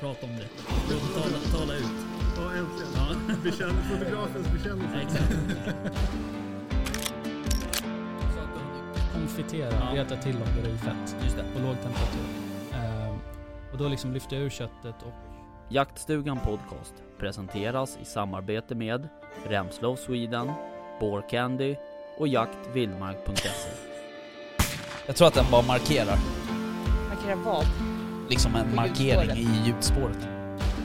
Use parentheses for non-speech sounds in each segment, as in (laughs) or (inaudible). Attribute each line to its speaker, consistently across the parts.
Speaker 1: Prata om det. Tala, tala ut.
Speaker 2: Ja, äntligen.
Speaker 1: Ja,
Speaker 2: Bekänn, fotografens bekännelse.
Speaker 1: exakt.
Speaker 3: Konfitera,
Speaker 1: Ja.
Speaker 3: reta till dem det i fett
Speaker 1: Just det.
Speaker 3: på låg temperatur. Ehm, och då liksom lyfter jag ur köttet och
Speaker 4: Jaktstugan Podcast presenteras i samarbete med Remslow Sweden, Candy och jaktvildmark.se.
Speaker 5: Jag tror att den bara markerar.
Speaker 6: Markera vad?
Speaker 5: Liksom en
Speaker 6: På
Speaker 5: markering
Speaker 6: ljudspåret.
Speaker 5: i ljudspåret.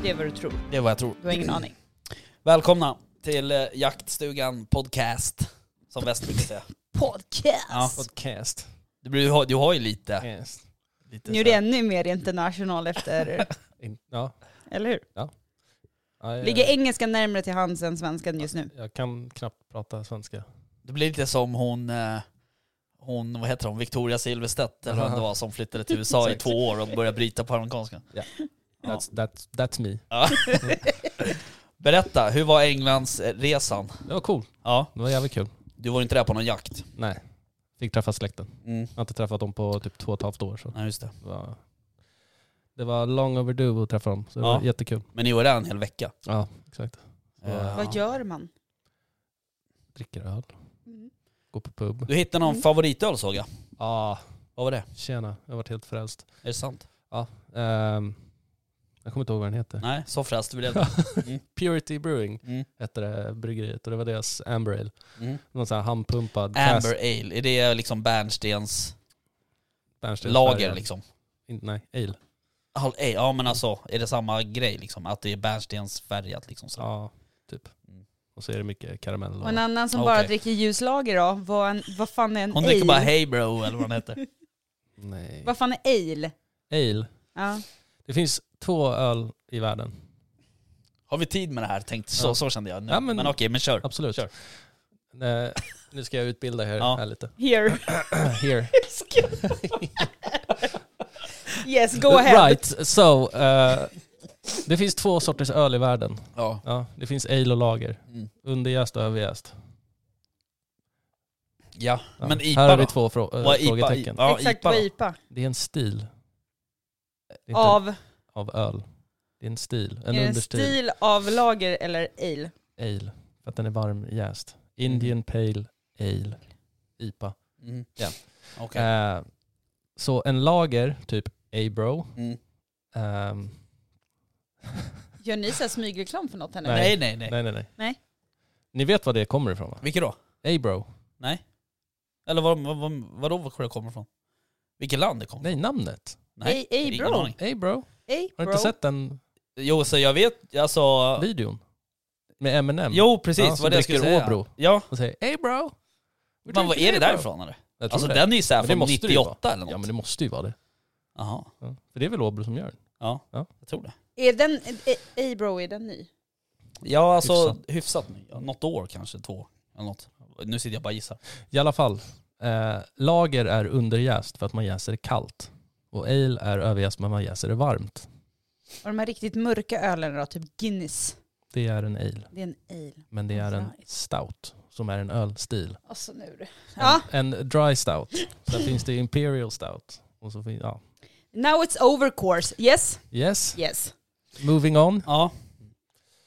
Speaker 6: Det är vad du tror.
Speaker 5: Det är vad jag tror.
Speaker 6: Du har
Speaker 5: (clears throat)
Speaker 6: ingen aning.
Speaker 5: Välkomna till eh, Jaktstugan Podcast. Som Westwick
Speaker 6: (laughs)
Speaker 5: säger.
Speaker 6: Podcast!
Speaker 5: Ja, podcast. Du, blir- du, har, du har ju lite...
Speaker 7: Yes.
Speaker 5: lite
Speaker 6: Nu är
Speaker 5: så
Speaker 6: det
Speaker 5: här-
Speaker 6: ännu mer
Speaker 5: (laughs)
Speaker 6: international efter,
Speaker 7: In, ja.
Speaker 6: eller hur?
Speaker 5: Eh.
Speaker 7: Ja, jag,
Speaker 6: Ligger engelskan närmare till hands än svenskan just nu?
Speaker 7: jag kan knappt prata svenska.
Speaker 5: Det blir lite som hon, eh, hon vad heter hon, Victoria Silvstedt eller vem det var som flyttade till USA i
Speaker 7: Exakt.
Speaker 5: två år och började bryta på amerikanska. Ja.
Speaker 7: That's, that's, that's me.
Speaker 5: Ja. Berätta, hur var Englands eh, resan?
Speaker 7: Det var cool.
Speaker 5: Ja,
Speaker 7: Det var jävligt kul.
Speaker 5: du var inte där på någon jakt?
Speaker 7: Nej. Fick träffa släkten.
Speaker 5: Mm.
Speaker 7: Jag har inte träffat dem på typ två och ett halvt år. Så
Speaker 5: Ja, just det.
Speaker 7: det, var, det var long overdue att träffa dem. Så det
Speaker 5: Ja.
Speaker 7: var jättekul.
Speaker 5: Men ni var där en hel vecka.
Speaker 7: Ja, exakt.
Speaker 5: Eh,
Speaker 6: Vad gör man?
Speaker 7: Dricker öl. Går på pub.
Speaker 5: Du hittade någon favoritöl såg jag.
Speaker 7: Ah,
Speaker 5: Vad var det?
Speaker 7: tjena, jag har varit helt frälst.
Speaker 5: Är det sant?
Speaker 7: Ehm, jag kommer inte ihåg vad den heter.
Speaker 5: Nej, så fräst blev det.
Speaker 7: Purity Brewing
Speaker 5: Mm.
Speaker 7: hette det bryggeriet och det var deras Amber Ale.
Speaker 5: Mm.
Speaker 7: Någon sån här handpumpad
Speaker 5: Amber Ale, är det liksom Bernstens
Speaker 7: Bernstein-
Speaker 5: lager liksom?
Speaker 7: In- Nej, ale.
Speaker 5: Al- ale, Ja men alltså, är det samma grej liksom? Att det är Bernstens färgat liksom? Så.
Speaker 7: Ja, typ.
Speaker 5: Mm.
Speaker 7: Och så är det mycket karamell.
Speaker 6: Och
Speaker 7: Och,
Speaker 6: en annan som
Speaker 5: Okej.
Speaker 6: bara dricker ljuslager då, vad, en, vad fan är en
Speaker 5: Hon
Speaker 6: ale?
Speaker 5: dricker bara Hey Bro eller vad den
Speaker 7: (laughs)
Speaker 5: heter.
Speaker 7: nej.
Speaker 6: Vad fan är ale?
Speaker 7: Ale.
Speaker 6: Ja.
Speaker 7: Det finns två öl i världen.
Speaker 5: Har vi tid med det här? Tänkte, så,
Speaker 7: Ja.
Speaker 5: så kände jag nu.
Speaker 7: Ja,
Speaker 5: men,
Speaker 7: men-
Speaker 5: okej, men kör.
Speaker 7: Absolut.
Speaker 5: Kör.
Speaker 7: Eh, nu ska jag utbilda er
Speaker 5: Ja.
Speaker 7: här lite. (clears throat)
Speaker 6: Here. (laughs)
Speaker 7: Here.
Speaker 6: yes, go ahead.
Speaker 7: Right, so. eh, det finns två sorters öl i världen.
Speaker 5: Ja.
Speaker 7: Ja, det finns ale och lager.
Speaker 5: Mm.
Speaker 7: Underjäst och överjäst.
Speaker 5: Ja.
Speaker 7: Ja.
Speaker 5: men IPA
Speaker 7: Här har vi
Speaker 5: då?
Speaker 7: två frå- eh,
Speaker 5: Vad är IPA?
Speaker 7: frågetecken.
Speaker 5: Ja,
Speaker 6: Exakt
Speaker 5: IPA
Speaker 6: vad
Speaker 5: då.
Speaker 6: IPA.
Speaker 7: Det är en stil. Det är inte
Speaker 6: Av,
Speaker 7: av öl. Det är en stil. En
Speaker 6: är det en
Speaker 7: understil.
Speaker 6: stil av lager eller ale?
Speaker 7: Ale. För att den är varm jäst. Indian Pale Ale. IPA.
Speaker 5: Mm.
Speaker 7: Ja.
Speaker 5: Okej.
Speaker 7: Eh, så en lager, typ Abro.
Speaker 5: Mm.
Speaker 7: ehm,
Speaker 6: Gör ni så här smygreklam för något här nu?
Speaker 7: Nej.
Speaker 5: Nej, nej, nej.
Speaker 7: nej, nej, nej.
Speaker 6: Nej.
Speaker 7: Ni vet var det kommer ifrån va?
Speaker 5: Vilket då?
Speaker 7: Abro.
Speaker 5: Eller vad, vad, vad, vadå, var det kommer ifrån? Vilket land det kommer
Speaker 7: Nej, namnet.
Speaker 5: Nej,
Speaker 6: Ey, ey,
Speaker 5: ingen
Speaker 6: bro.
Speaker 5: aning.
Speaker 7: Abro.
Speaker 6: Hey,
Speaker 7: Har du
Speaker 6: bro.
Speaker 7: inte sett den
Speaker 5: Jo, så jag vet, alltså...
Speaker 7: videon? Med Eminem.
Speaker 5: Jo, precis.
Speaker 7: Ja,
Speaker 5: vad
Speaker 7: som
Speaker 5: det jag skulle
Speaker 7: dricker
Speaker 5: säga.
Speaker 7: Åbro.
Speaker 5: Ja.
Speaker 7: Och säger Abro.
Speaker 5: Men vad är det därifrån eller?
Speaker 7: Jag tror
Speaker 5: Alltså
Speaker 7: det.
Speaker 5: den är ju såhär
Speaker 7: Men det
Speaker 5: från
Speaker 7: måste det ju
Speaker 5: 98 eller något.
Speaker 7: Ja men det måste ju vara det.
Speaker 5: Jaha,
Speaker 7: Ja. För det är väl Åbro som gör den?
Speaker 5: jag tror det.
Speaker 6: Är den, ey bro, är den ny?
Speaker 5: Ja alltså hyfsat,
Speaker 7: Hyfsat.
Speaker 5: ny. Ja, Något år kanske, två eller något. Nu sitter jag bara och gissar.
Speaker 7: I alla fall. Eh, lager är underjäst för att man jäser det kallt. Och ale är överjäst men man jäser det varmt.
Speaker 6: Och de här riktigt mörka ölen då, typ Guinness.
Speaker 7: Det är en ale.
Speaker 6: Det är en ale.
Speaker 7: Men det är en
Speaker 6: Right.
Speaker 7: stout som är en ölstil.
Speaker 6: Alltså nu är det. Ja,
Speaker 7: En dry stout. Sen finns det imperial stout. Och så finns, ja.
Speaker 6: now it's over course. Yes,
Speaker 7: Yes,
Speaker 6: yes.
Speaker 7: moving on.
Speaker 5: Ja,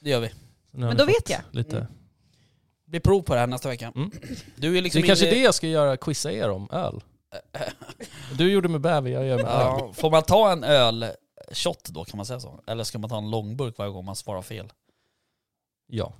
Speaker 5: det gör vi.
Speaker 7: Nu har
Speaker 6: Men
Speaker 7: ni
Speaker 6: då
Speaker 7: fått
Speaker 6: vet jag. Mm.
Speaker 7: Lite.
Speaker 5: Det blir prov på det här nästa vecka.
Speaker 7: Mm.
Speaker 5: Du är
Speaker 7: Det
Speaker 5: liksom
Speaker 7: är kanske
Speaker 5: inne-
Speaker 7: det jag ska göra, quizza er om,
Speaker 5: (laughs)
Speaker 7: öl. Du gjorde med bäver, jag gör med öl.
Speaker 5: Ja, får man ta en ölshot då, kan man säga så? Eller ska man ta en långburk varje gång man svarar fel?
Speaker 7: Ja.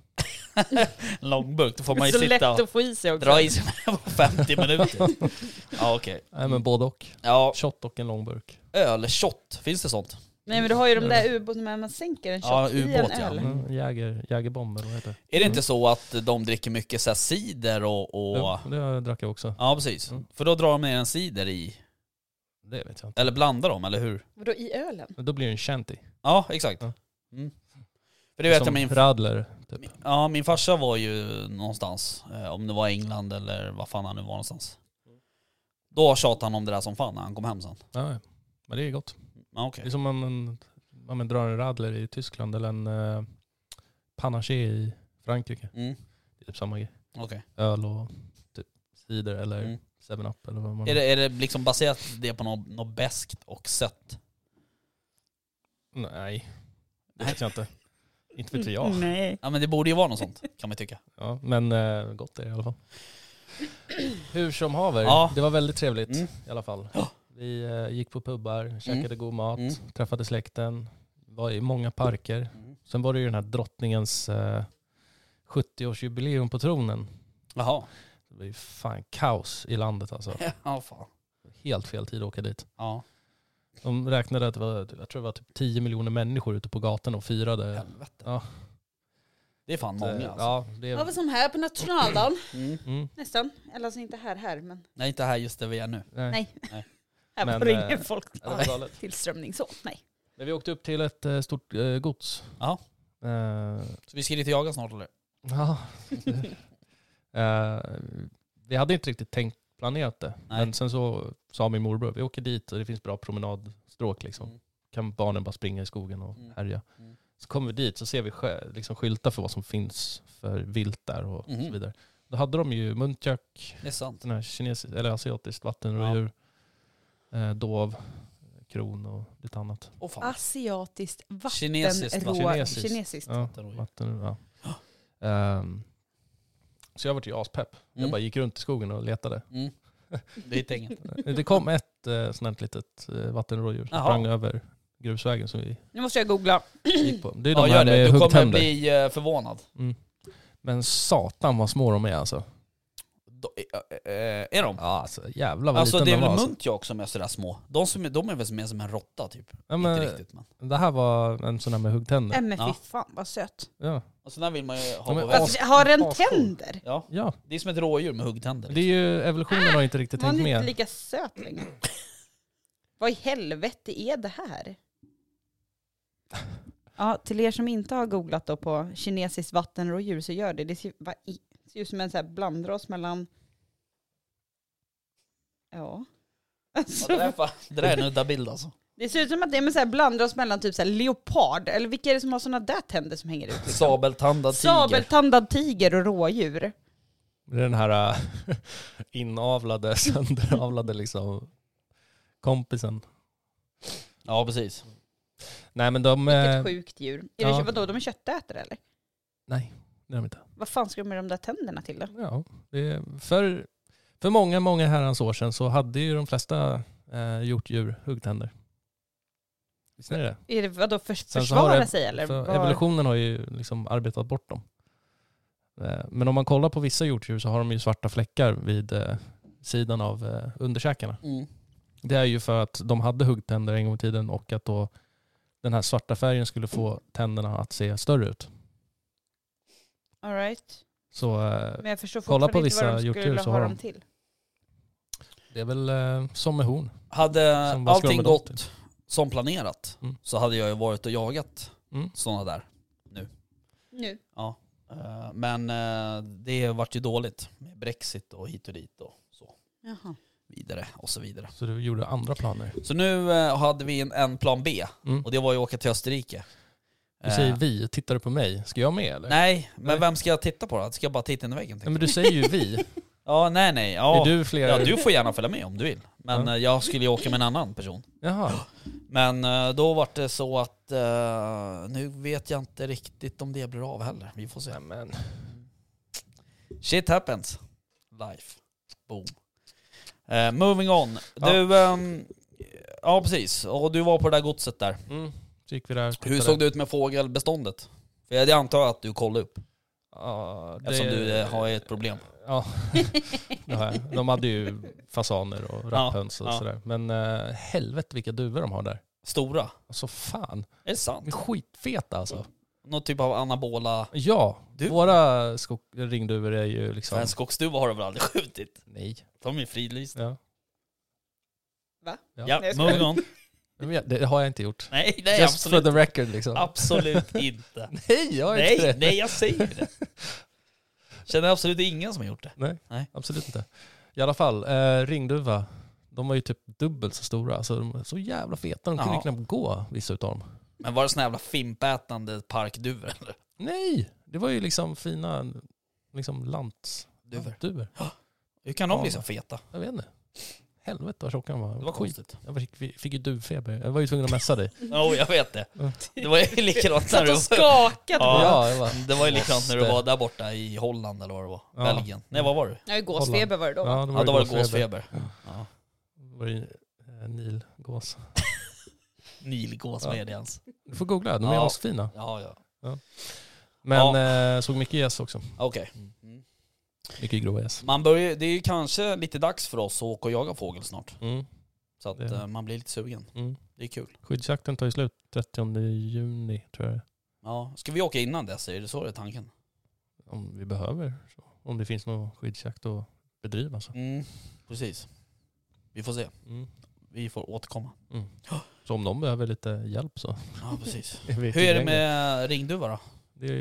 Speaker 5: En långburk, då får
Speaker 6: Det
Speaker 5: man
Speaker 6: är
Speaker 5: ju
Speaker 6: så lätt
Speaker 5: sitta och
Speaker 6: att få i sig också.
Speaker 5: dra i sig på (laughs) 50 minuter.
Speaker 6: (laughs)
Speaker 5: Ja okej.
Speaker 7: Nej men både och.
Speaker 5: Ja,
Speaker 7: Shot och en lång burk.
Speaker 5: ölshot, finns det sånt?
Speaker 6: Nej men du har ju de där ubåtarna med man sänker en shot
Speaker 5: Mm. Ja,
Speaker 6: i en
Speaker 5: ubåt, ja.
Speaker 6: öl.
Speaker 5: Mm.
Speaker 7: Mm, jäger, jägerbomber, vad heter
Speaker 5: Är det inte så att de dricker mycket så här cider och...
Speaker 7: det?
Speaker 5: och...
Speaker 7: Det, det drack jag också.
Speaker 5: Ja precis.
Speaker 7: Mm.
Speaker 5: För då drar de ner en cider i,
Speaker 7: Det vet jag inte.
Speaker 5: eller blandar dem, eller hur?
Speaker 6: Vadå i ölen?
Speaker 7: Men Då blir det en shanty.
Speaker 5: Ja, exakt.
Speaker 7: Ja.
Speaker 5: Mm. För det vet jag
Speaker 7: som
Speaker 5: min,
Speaker 7: Radler, typ.
Speaker 5: min- ja, min farsa var ju någonstans, eh, om det var England eller vad fan han nu var någonstans. Då tjatade han om det där som fan när han kom hem sen.
Speaker 7: Ja, ja. men det är gott.
Speaker 5: Ja,
Speaker 7: Det
Speaker 5: okej.
Speaker 7: är som om man, om man drar en radler i Tyskland eller en eh, panaché i Frankrike.
Speaker 5: Mm,
Speaker 7: Det är typ samma grej.
Speaker 5: okej.
Speaker 7: Öl och typ cider
Speaker 5: Mm.
Speaker 7: eller 7-Up eller vad man
Speaker 5: Är, det, är det liksom baserat det på något, något beskt och sött?
Speaker 7: Nej, (laughs) det vet jag inte. Inte vet jag.
Speaker 6: Mm, Nej.
Speaker 5: Ja men det borde ju vara något sånt kan man tycka.
Speaker 7: Ja, men eh, gott är det i alla (clears throat) fall. Hur som haver,
Speaker 5: Ja.
Speaker 7: det var väldigt trevligt
Speaker 5: Mm.
Speaker 7: i alla fall.
Speaker 5: Ja.
Speaker 7: Vi eh, gick på pubbar, käkade god mat,
Speaker 5: Mm.
Speaker 7: träffade släkten, var i många parker.
Speaker 5: Mm.
Speaker 7: Sen var det ju den här drottningens eh, 70-årsjubileum på tronen.
Speaker 5: Jaha.
Speaker 7: Det var ju fan kaos i landet alltså.
Speaker 5: (laughs) Ja fan.
Speaker 7: Helt fel tid att åka dit.
Speaker 5: Ja.
Speaker 7: De räknade att det var, jag tror det var typ 10 miljoner människor ute på gatan och firade.
Speaker 5: Helvete.
Speaker 7: Ja.
Speaker 5: Det är fan många alltså.
Speaker 7: Ja, det,
Speaker 6: Det var väl som här
Speaker 5: (clears throat)
Speaker 6: på nationaldagen,
Speaker 5: Mm.
Speaker 7: mm,
Speaker 6: nästan. Eller alltså inte här, här, men
Speaker 5: Nej inte här just där vi är nu.
Speaker 7: nej.
Speaker 6: Nej.
Speaker 5: Nej.
Speaker 6: här
Speaker 7: Men,
Speaker 6: var det ingen
Speaker 7: eh,
Speaker 6: folk.
Speaker 7: Ja, det var galet.
Speaker 6: Tillströmning så, nej.
Speaker 7: Men vi åkte upp till ett eh, stort eh, gods.
Speaker 5: Ja.
Speaker 7: Eh,
Speaker 5: Så vi ska dit och jaga snart eller?
Speaker 7: ja. (laughs) Eh, vi hade inte riktigt tänkt planerat det.
Speaker 5: Nej.
Speaker 7: Men sen så sa min morbror, vi åker dit och det finns bra promenadstråk liksom.
Speaker 5: Mm.
Speaker 7: Kan barnen bara springa i skogen och
Speaker 5: Mm.
Speaker 7: härja.
Speaker 5: Mm.
Speaker 7: Så kommer vi dit så ser vi skö, liksom, skyltar för vad som finns för vilt där och
Speaker 5: Mhm.
Speaker 7: så vidare. Då hade de ju muntjök,
Speaker 5: Det är sant.
Speaker 7: den här kinesisk, eller asiatiskt vattenrådjur, eh, dov, kron och lite annat.
Speaker 5: Åh fan.
Speaker 6: Asiatiskt
Speaker 5: Kinesiskt, va?
Speaker 6: vattenrå...
Speaker 7: Kinesiskt.
Speaker 6: Kinesiskt.
Speaker 7: Ja.
Speaker 5: Vattenrådjur.
Speaker 7: Vatten, ja. Ehm, så jag vart ju aspepp. Jag
Speaker 5: Mm.
Speaker 7: bara gick runt i skogen och letade.
Speaker 5: Mm. Det hittade inget.
Speaker 7: Det kom ett eh, sånt här litet eh, vattenrådjur som
Speaker 5: Jaha.
Speaker 7: sprang över grusvägen som vi
Speaker 6: Nu måste jag googla.
Speaker 7: gick på. Det är
Speaker 5: Ja
Speaker 7: de
Speaker 5: gör
Speaker 7: här
Speaker 5: det,
Speaker 7: med
Speaker 5: du kommer
Speaker 7: huggtänder.
Speaker 5: bli eh, förvånad.
Speaker 7: Mm. Men satan vad små de är alltså.
Speaker 5: Då- eh, eh, Är de?
Speaker 7: Ja, alltså jävlar vad
Speaker 5: Alltså
Speaker 7: liten
Speaker 5: det är
Speaker 7: de var.
Speaker 5: väl
Speaker 7: Alltså.
Speaker 5: muntjak som är sådär små. De, som är, de är väl mer som en råtta typ.
Speaker 7: Ja, men,
Speaker 5: Inte riktigt men.
Speaker 7: det här var en sån här med huggtänder.
Speaker 6: Nej men
Speaker 5: Ja.
Speaker 6: fy fan vad söt.
Speaker 7: Ja.
Speaker 5: Och sådana Alltså, vill man ju ha
Speaker 7: De är
Speaker 5: på
Speaker 7: as-
Speaker 5: väggen.
Speaker 6: Alltså, har den
Speaker 7: asscool.
Speaker 6: tänder?
Speaker 5: Ja,
Speaker 7: ja,
Speaker 5: det är som ett rådjur med huggtänder.
Speaker 7: det är ju evolutionen har inte riktigt
Speaker 6: Var
Speaker 7: tänkt
Speaker 6: den inte
Speaker 7: med.
Speaker 6: lika söt (laughs) längre? Vad i helvete är det här? (laughs) Ja, till er som inte har googlat då på kinesiskt vattenrådjur så gör det. Det ser, vad i- ser ut som en så här blandras mellan... Ja. (laughs)
Speaker 5: liksom. Ja, det,
Speaker 6: Alltså,
Speaker 5: där är
Speaker 7: (laughs)
Speaker 5: fan, det där är en udda bild alltså.
Speaker 6: det ser ut som att det är en så här blandras mellan typ så här leopard, eller vilka är det som har sådana där tänder som hänger ut? Liksom?
Speaker 5: Sabeltandad tiger.
Speaker 6: Sabeltandad tiger och rådjur.
Speaker 7: Det är den här äh, (laughs) inavlade, (laughs) sönderavlade liksom kompisen.
Speaker 5: Ja precis.
Speaker 7: Nej men de... eh,
Speaker 6: Vilket sjukt djur. Är
Speaker 7: ja.
Speaker 6: det, vadå, de är köttätare eller?
Speaker 7: Nej, det är de inte.
Speaker 6: Vad fan ska de med de där tänderna till då?
Speaker 7: Ja, det är, för, för många, många herrans år sedan så hade ju de flesta eh, hjortdjur huggtänder. Visst är det
Speaker 6: Är det vadå för,
Speaker 7: Sen så har
Speaker 6: försvara
Speaker 7: det-
Speaker 6: sig eller?
Speaker 7: För
Speaker 6: Vad-
Speaker 7: evolutionen har ju liksom arbetat bort dem. Eh, Men om man kollar på vissa hjortdjur så har de ju svarta fläckar vid eh, sidan av eh, underkäkarna.
Speaker 5: Mm.
Speaker 7: Det är ju för att de hade huggtänder en gång i tiden och att då den här svarta färgen skulle få tänderna att se större ut.
Speaker 6: All right.
Speaker 7: Så eh,
Speaker 6: Men jag förstår
Speaker 7: Kolla
Speaker 6: Kolla
Speaker 7: på
Speaker 6: på
Speaker 7: vissa
Speaker 6: inte vad de
Speaker 7: hjortdjur
Speaker 6: skulle
Speaker 7: så
Speaker 6: ha
Speaker 7: har
Speaker 6: dem
Speaker 7: de-
Speaker 6: till.
Speaker 7: det är väl eh, som med horn.
Speaker 5: Hade
Speaker 7: Som bara
Speaker 5: Eh,
Speaker 7: typ.
Speaker 5: allting
Speaker 7: skummet
Speaker 5: gått som planerat
Speaker 7: Mm.
Speaker 5: så hade jag ju varit och jagat
Speaker 7: Mm.
Speaker 5: sådana där.
Speaker 6: Nu.
Speaker 5: Eh, Men eh, det vart ju dåligt med Brexit och hit och dit och så
Speaker 6: Jaha.
Speaker 5: vidare och så vidare.
Speaker 7: Så du gjorde andra planer.
Speaker 5: Så nu eh, hade vi en, en plan B
Speaker 7: Mm.
Speaker 5: och det var ju att åka till Österrike.
Speaker 7: Du säger
Speaker 5: Eh,
Speaker 7: vi, tittar du på mig? Ska jag med eller?
Speaker 5: Nej, men
Speaker 7: Nej.
Speaker 5: vem ska jag titta på då? Ska jag bara titta in i väggen?
Speaker 7: Nej,
Speaker 5: tänkte
Speaker 7: men du säger ju
Speaker 5: (laughs)
Speaker 7: vi.
Speaker 5: jag? Ja, nej nej. Ja.
Speaker 7: Är du flera?
Speaker 5: Ja, du får gärna följa med om du vill. Men
Speaker 7: Ja.
Speaker 5: eh, jag skulle ju åka med en annan person.
Speaker 7: Jaha.
Speaker 5: Men eh, då var det så att eh, nu vet jag inte riktigt om det blir av heller. Vi får se.
Speaker 7: Nej, men.
Speaker 5: Shit happens. Life. Boom. Eh, moving on.
Speaker 7: Ja.
Speaker 5: Du, ehm, ja precis. Och du var på det där godset där.
Speaker 7: Mm. Så gick vi där.
Speaker 5: Hur såg det ut med fågelbeståndet? För jag antar att du kollade upp.
Speaker 7: Ja, det-
Speaker 5: Eftersom du eh, har ett problem.
Speaker 7: Ja, (laughs) det har jag. De hade ju fasaner och rapphöns och
Speaker 5: ja.
Speaker 7: sådär. Men eh, helvete vilka duvor de har där.
Speaker 5: Stora.
Speaker 7: Alltså fan,
Speaker 5: Är det
Speaker 7: de
Speaker 5: sant?
Speaker 7: är skitfeta alltså.
Speaker 5: Någon typ av anabola...
Speaker 7: Ja,
Speaker 5: Du-
Speaker 7: våra skog- ringduvor är ju
Speaker 5: För
Speaker 7: liksom...
Speaker 5: en skogsduva har du väl aldrig (laughs) skjutit?
Speaker 7: Nej.
Speaker 5: De är ju fridlysta.
Speaker 7: Ja.
Speaker 5: Ja,
Speaker 6: Nej, jag skojar.
Speaker 5: moving on.
Speaker 7: Men jag- Det har jag inte gjort.
Speaker 5: (laughs) Nej, nej
Speaker 7: Just
Speaker 5: absolut.
Speaker 7: for the record liksom.
Speaker 5: Absolut inte.
Speaker 7: (laughs) Nej, jag har inte
Speaker 5: nej,
Speaker 7: det.
Speaker 5: nej (laughs) jag säger (laughs) det. Känner absolut ingen som har gjort det.
Speaker 7: Absolut inte. I alla fall, eh, ringduva. De var ju typ dubbelt så stora. Alltså, de var så jävla feta. De kunde
Speaker 5: Ja.
Speaker 7: ju knappt gå, vissa utav dem.
Speaker 5: Men var det såna jävla fimpätande parkduvor eller?
Speaker 7: Nej, det var ju liksom fina liksom lantsduvor.
Speaker 5: Hur kan de bli så feta?
Speaker 7: Jag vet inte. Helvete vad tjock han var.
Speaker 5: Det var
Speaker 7: Skit.
Speaker 5: konstigt.
Speaker 7: Jag fick, fick ju duvfeber. Jag var ju tvungen att
Speaker 5: (laughs)
Speaker 7: mässa dig.
Speaker 5: (laughs) Jo, jag vet det. Det (laughs) var
Speaker 6: (laughs)
Speaker 5: ju likadant när
Speaker 6: Satt
Speaker 5: du
Speaker 6: och
Speaker 5: var...
Speaker 6: skakade.
Speaker 5: Ja.
Speaker 7: Ja, jag bara,
Speaker 5: Det var ju likadant när du
Speaker 7: Måste.
Speaker 5: var där borta i Holland eller vad det var.
Speaker 7: Ja.
Speaker 5: Belgien. Nej, vad var du?
Speaker 6: Ja, gåsfeber var det då. va?
Speaker 7: ja, det
Speaker 5: Ja, då var det
Speaker 7: gåsfeber.
Speaker 5: gåsfeber.
Speaker 7: Det var ju eh, nilgås.
Speaker 5: Nilgås
Speaker 7: Ja.
Speaker 5: med det ens.
Speaker 7: Du får googla, de är
Speaker 5: Ja.
Speaker 7: asfina.
Speaker 5: Ja, ja.
Speaker 7: Men eh, såg mycket gäss också.
Speaker 5: Okej. Mm.
Speaker 7: Mycket grova gäss.
Speaker 5: Man börjar, det är ju kanske lite dags för oss att åka och jaga fågel snart.
Speaker 7: Mm.
Speaker 5: Så att
Speaker 7: Det är det.
Speaker 5: eh, man blir lite sugen.
Speaker 7: Mm.
Speaker 5: Det är kul.
Speaker 7: Skyddsjakten tar ju slut 30 juni tror jag.
Speaker 5: Ja. Ska vi åka innan dess? Är det så det är tanken?
Speaker 7: Om vi behöver. Så. Om det finns någon skyddsjakt att bedriva. Så.
Speaker 5: Mm. Precis. Vi får se.
Speaker 7: Mm.
Speaker 5: Vi får återkomma.
Speaker 7: Mm. så om de behöver lite hjälp (laughs) så
Speaker 5: Ja, precis.
Speaker 7: är vi
Speaker 5: Hur är det
Speaker 7: tillgängliga.
Speaker 5: med ringduva då?
Speaker 7: Det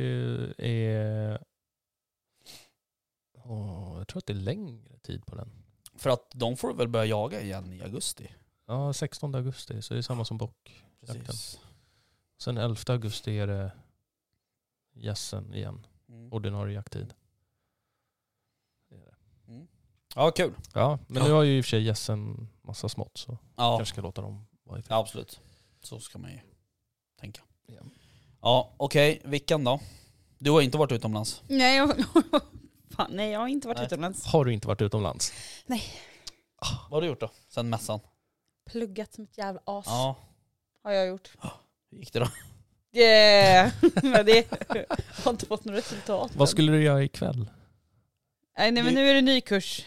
Speaker 7: är... Åh, jag tror att det är längre tid på den.
Speaker 5: För att de får väl börja jaga igen i augusti?
Speaker 7: Ja, 16 augusti så det är samma som bock.
Speaker 5: Precis.
Speaker 7: Sen 11 augusti är det gässen igen.
Speaker 5: Mm.
Speaker 7: ordinarie jakttid.
Speaker 5: Ja, kul.
Speaker 7: Ja, men nu har ju i och för sig gässen massa smått så
Speaker 5: Ja.
Speaker 7: kanske ska låta dem vara i fred.
Speaker 5: Ja, absolut. Så ska man ju tänka.
Speaker 7: Ja.
Speaker 5: Ja, okej. Vickan då? Du har inte varit utomlands?
Speaker 6: Nej, jag, (laughs) fan, nej, jag har inte varit
Speaker 5: Nej.
Speaker 6: utomlands.
Speaker 7: Har du inte varit utomlands? Ah.
Speaker 5: Vad har du gjort då? Sen mässan?
Speaker 6: Pluggat som ett jävla as
Speaker 5: Ja.
Speaker 6: har jag gjort.
Speaker 5: Hur gick det då?
Speaker 6: Yeah. (laughs) Men det har inte fått något resultat. än.
Speaker 7: Vad skulle du göra ikväll?
Speaker 6: nej, nej, men nu är det en ny kurs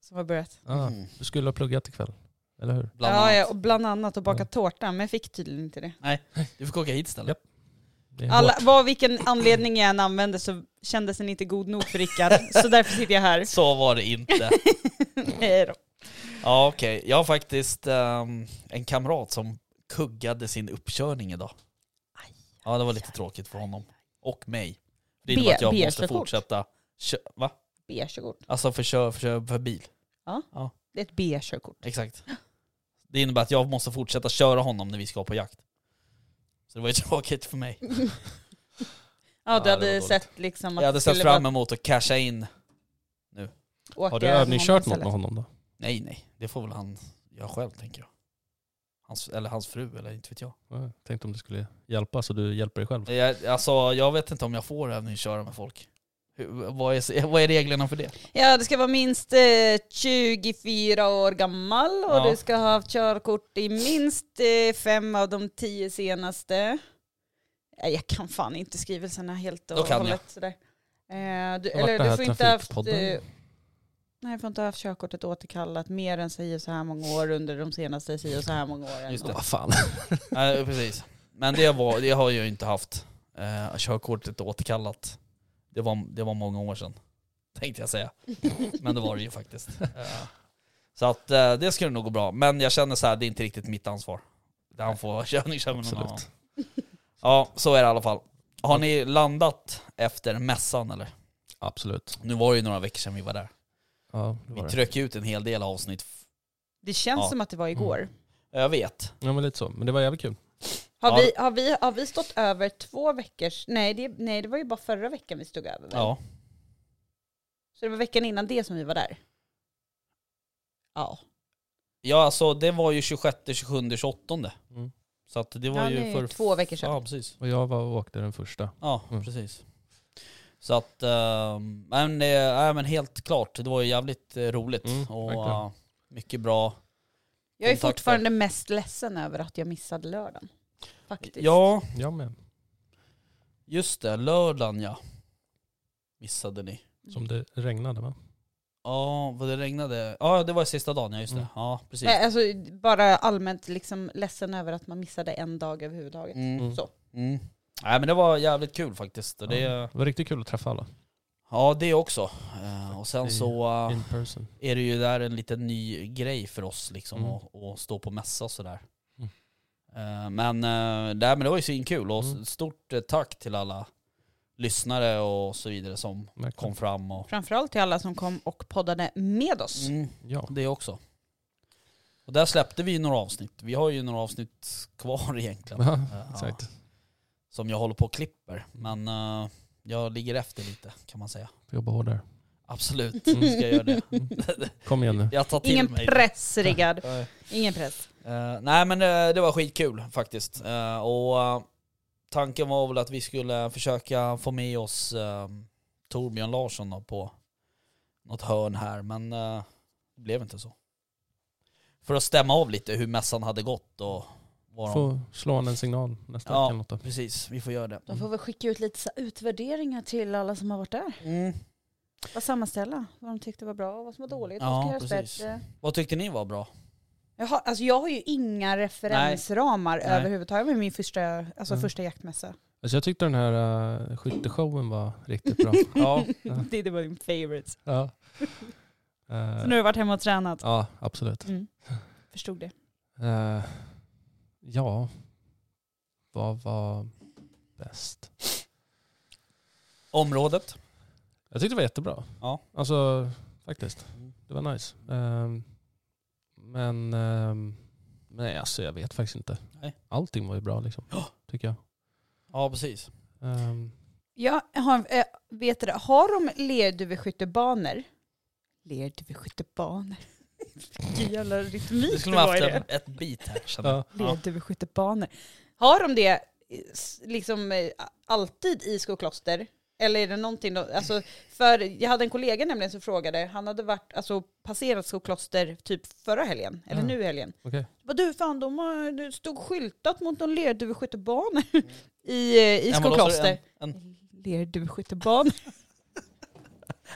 Speaker 6: som har börjat.
Speaker 7: Ah,
Speaker 5: Mm.
Speaker 7: Du skulle ha pluggat ikväll, eller hur?
Speaker 5: Bland
Speaker 6: ja,
Speaker 5: annat.
Speaker 6: ja, och bland annat att baka tårta, men jag fick tydligen inte det.
Speaker 5: Du fick åka hit istället.
Speaker 7: Japp. Det är
Speaker 6: Alla,
Speaker 7: hårt.
Speaker 6: vad, vilken anledning jag än använde så kändes den inte god nog för (laughs) Rickard, så därför sitter jag här.
Speaker 5: Så var det
Speaker 6: (laughs)
Speaker 5: inte.
Speaker 6: Nej då.
Speaker 5: Ja, okej. Jag har faktiskt ehm, en kamrat som kuggade sin uppkörning idag. Ja, det var lite tråkigt för honom. Och mig. Det innebär
Speaker 6: B-
Speaker 5: att jag måste
Speaker 6: B-körkort.
Speaker 5: fortsätta. Kö- va?
Speaker 6: B-körkort.
Speaker 5: Alltså för, kö- för, kö- för bil.
Speaker 6: Det är ett B-körkort.
Speaker 5: Exakt. Det innebär att jag måste fortsätta köra honom när vi ska på jakt. Så det var ju (laughs) tråkigt för mig.
Speaker 6: Ja,
Speaker 5: Ja,
Speaker 6: du
Speaker 5: det
Speaker 6: hade
Speaker 5: var dåligt.
Speaker 6: sett liksom att
Speaker 5: Jag hade
Speaker 6: det
Speaker 5: sett
Speaker 6: skulle
Speaker 5: fram emot att casha in.
Speaker 6: bara åka
Speaker 7: Har du övningskört något
Speaker 6: istället.
Speaker 7: med honom då?
Speaker 5: Nej, nej. Det får väl han göra själv, tänker jag. Hans, eller hans fru, eller inte vet jag.
Speaker 7: Ja, Ah, jag tänkte om du skulle hjälpa så du hjälper dig själv.
Speaker 5: jag alltså, jag vet inte om jag får övningsköra med folk. Hur, vad, är, (laughs) vad är reglerna för det?
Speaker 6: Ja, du ska vara minst eh, 24 år gammal och
Speaker 5: Ja.
Speaker 6: du ska ha haft körkort i minst eh, fem av de tio senaste. Nej, jag kan fan inte skrivelserna helt och
Speaker 5: Då kan jag.
Speaker 6: hållet. Sådär. Eh, du,
Speaker 7: Jag har varit
Speaker 6: eller
Speaker 7: det
Speaker 6: du
Speaker 7: här
Speaker 6: får inte ha haft... Eh,
Speaker 7: Trafikpodden.
Speaker 6: nej, du får inte ha haft körkortet återkallat mer än si och så här många år under de senaste si och så här många åren.
Speaker 5: Just det.
Speaker 7: Vad fan. (laughs)
Speaker 5: Nej, precis. Men det, var, det har jag ju inte haft. Eh, körkortet återkallat. Det var, det var många år sedan, tänkte jag säga. (laughs) Men det var det ju
Speaker 7: (laughs)
Speaker 5: faktiskt. Eh, så att eh, det skulle nog gå bra. Men jag känner så här, det är inte riktigt mitt ansvar. Där han får (laughs) körning kör med någon annan.
Speaker 7: Absolut.
Speaker 5: Ja, så är det i alla fall. Har ni landat efter mässan eller?
Speaker 7: Absolut.
Speaker 5: Nu var det ju några veckor sedan vi var där.
Speaker 7: Ja, det
Speaker 5: Vi
Speaker 7: var det.
Speaker 5: tryckte ut en hel del avsnitt.
Speaker 6: Det känns
Speaker 5: Ja. Mm.
Speaker 6: som att det var igår.
Speaker 5: Jag vet.
Speaker 7: ja, men lite så. Men det var jävligt kul.
Speaker 6: Har,
Speaker 5: Ja.
Speaker 6: vi, har, vi, har vi stått över två veckors... Nej det, nej, det var ju bara förra veckan vi stod över. väl?
Speaker 5: Ja.
Speaker 6: Så det var veckan innan det som vi var där? Ja.
Speaker 5: Ja, alltså det var ju 26, 27, 28.
Speaker 7: Mm.
Speaker 5: Så att det var
Speaker 6: Ja, det är
Speaker 5: ju för...
Speaker 6: två veckor sedan.
Speaker 5: Ja, precis.
Speaker 7: Och jag var och åkte den första.
Speaker 5: Ja,
Speaker 7: Mm.
Speaker 5: precis. Så att, eh, men, eh, ja, men helt klart, det var ju jävligt eh, roligt
Speaker 7: Mm,
Speaker 5: och
Speaker 7: verkligen.
Speaker 5: eh, mycket bra.
Speaker 6: Jag är
Speaker 5: Kontakter.
Speaker 6: fortfarande mest ledsen över att jag missade lördagen. Faktiskt.
Speaker 5: Ja,
Speaker 7: Jag med.
Speaker 5: just det, lördagen ja. Missade ni.
Speaker 7: Som det regnade va?
Speaker 5: Ja, vad det regnade. Ja, det var sista dagen, ja just det.
Speaker 7: Mm.
Speaker 5: Ja, precis.
Speaker 6: Nej, alltså, bara allmänt liksom ledsen över att man missade en dag överhuvudtaget.
Speaker 5: Mm.
Speaker 7: Mm.
Speaker 6: Så.
Speaker 5: Mm. Nej men det var jävligt kul faktiskt. Och Det,
Speaker 7: Det var riktigt kul att träffa alla.
Speaker 5: ja det också. Eh, Och sen så eh,
Speaker 7: In person.
Speaker 5: är det ju där en liten ny grej för oss liksom
Speaker 7: Mm.
Speaker 5: att, att stå på mässa och sådär.
Speaker 7: Mm.
Speaker 5: Eh, Men, eh, nej, men det var ju svinkul och
Speaker 7: Mm.
Speaker 5: stort eh, tack till alla lyssnare och så vidare som kom
Speaker 7: Verkligen.
Speaker 5: fram och
Speaker 6: Framförallt till alla som kom och poddade med oss.
Speaker 5: mm,
Speaker 7: Ja.
Speaker 5: det också. Och där släppte vi ju några avsnitt. Vi har ju några avsnitt kvar (laughs) egentligen.
Speaker 7: Ja,
Speaker 5: Ja.
Speaker 7: exakt.
Speaker 5: Som jag håller på och klipper. Men eh, jag ligger efter lite kan man säga.
Speaker 7: Jobba hårdare.
Speaker 5: Absolut,
Speaker 7: Mm.
Speaker 5: ska jag göra det.
Speaker 6: (laughs)
Speaker 7: Kom igen nu.
Speaker 5: Jag tar till
Speaker 6: Ingen
Speaker 5: mig.
Speaker 6: press Rickard.
Speaker 5: Ja, ja.
Speaker 6: Ingen press.
Speaker 5: Eh, nej men eh, det var skitkul faktiskt. Eh, och eh, tanken var väl att vi skulle försöka få med oss eh, Torbjörn Larsson då, på något hörn här, men eh, det blev inte så. För att stämma av lite hur mässan hade gått och vad de...
Speaker 7: Får slå en signal nästa
Speaker 5: Ja.
Speaker 7: vecka eller något då.
Speaker 5: Precis, vi får göra det.
Speaker 6: De får väl skicka ut lite så här utvärderingar till alla som har varit där.
Speaker 5: Mm.
Speaker 6: Bara sammanställa vad de tyckte var bra och vad som var dåligt.
Speaker 5: Ja,
Speaker 6: vad som kan göras
Speaker 5: precis.
Speaker 6: bättre.
Speaker 5: Vad tyckte ni var bra?
Speaker 6: Jag har, alltså jag har ju inga referensramar
Speaker 5: Nej.
Speaker 6: överhuvudtaget med min första, alltså
Speaker 7: Mm.
Speaker 6: första jaktmässa.
Speaker 7: Alltså jag tyckte den här uh, skytteshowen var
Speaker 6: (laughs)
Speaker 7: riktigt bra.
Speaker 5: Ja.
Speaker 6: det, det var min favorite.
Speaker 7: ja. Eh,
Speaker 6: Så nu har jag varit hemma och tränat.
Speaker 7: ja, absolut.
Speaker 6: Mm. (laughs) Förstod det.
Speaker 7: Eh, ja, vad var bäst?
Speaker 5: Området?
Speaker 7: Jag tyckte det var jättebra.
Speaker 5: Ja.
Speaker 7: Alltså faktiskt. Det var nice. Ehm, men ehm, nej, alltså jag vet faktiskt inte.
Speaker 5: Nej.
Speaker 7: Allting var ju bra liksom. Tycker jag.
Speaker 5: Ja precis.
Speaker 7: Ehm,
Speaker 6: Jag har, eh, vet du, det? har de lerduveskyttebanor? Lerduveskyttebanor. (laughs) Vilken jävla rytmik
Speaker 5: Det skulle
Speaker 6: det
Speaker 5: man
Speaker 6: var i
Speaker 5: haft
Speaker 6: det.
Speaker 5: ett, ett bit här känner jag.
Speaker 7: ja.
Speaker 5: Ja.
Speaker 6: Lerduveskyttebanor. Har de det eh, s- liksom eh, alltid i Skokloster? Eller är det någonting då? Alltså, för jag hade en kollega nämligen som frågade, han hade varit, alltså, passerat Skokloster typ förra helgen, eller
Speaker 5: Mm.
Speaker 7: Ja.
Speaker 6: nu i helgen.
Speaker 7: Okej.
Speaker 6: Bara, du fan, de har, det stod skyltat mot någon lerduveskyttebanor (laughs) i, eh, i
Speaker 5: Ja, men då så är det
Speaker 6: Skokloster.
Speaker 5: En, en, (clears throat)
Speaker 6: Lerduveskyttebanor.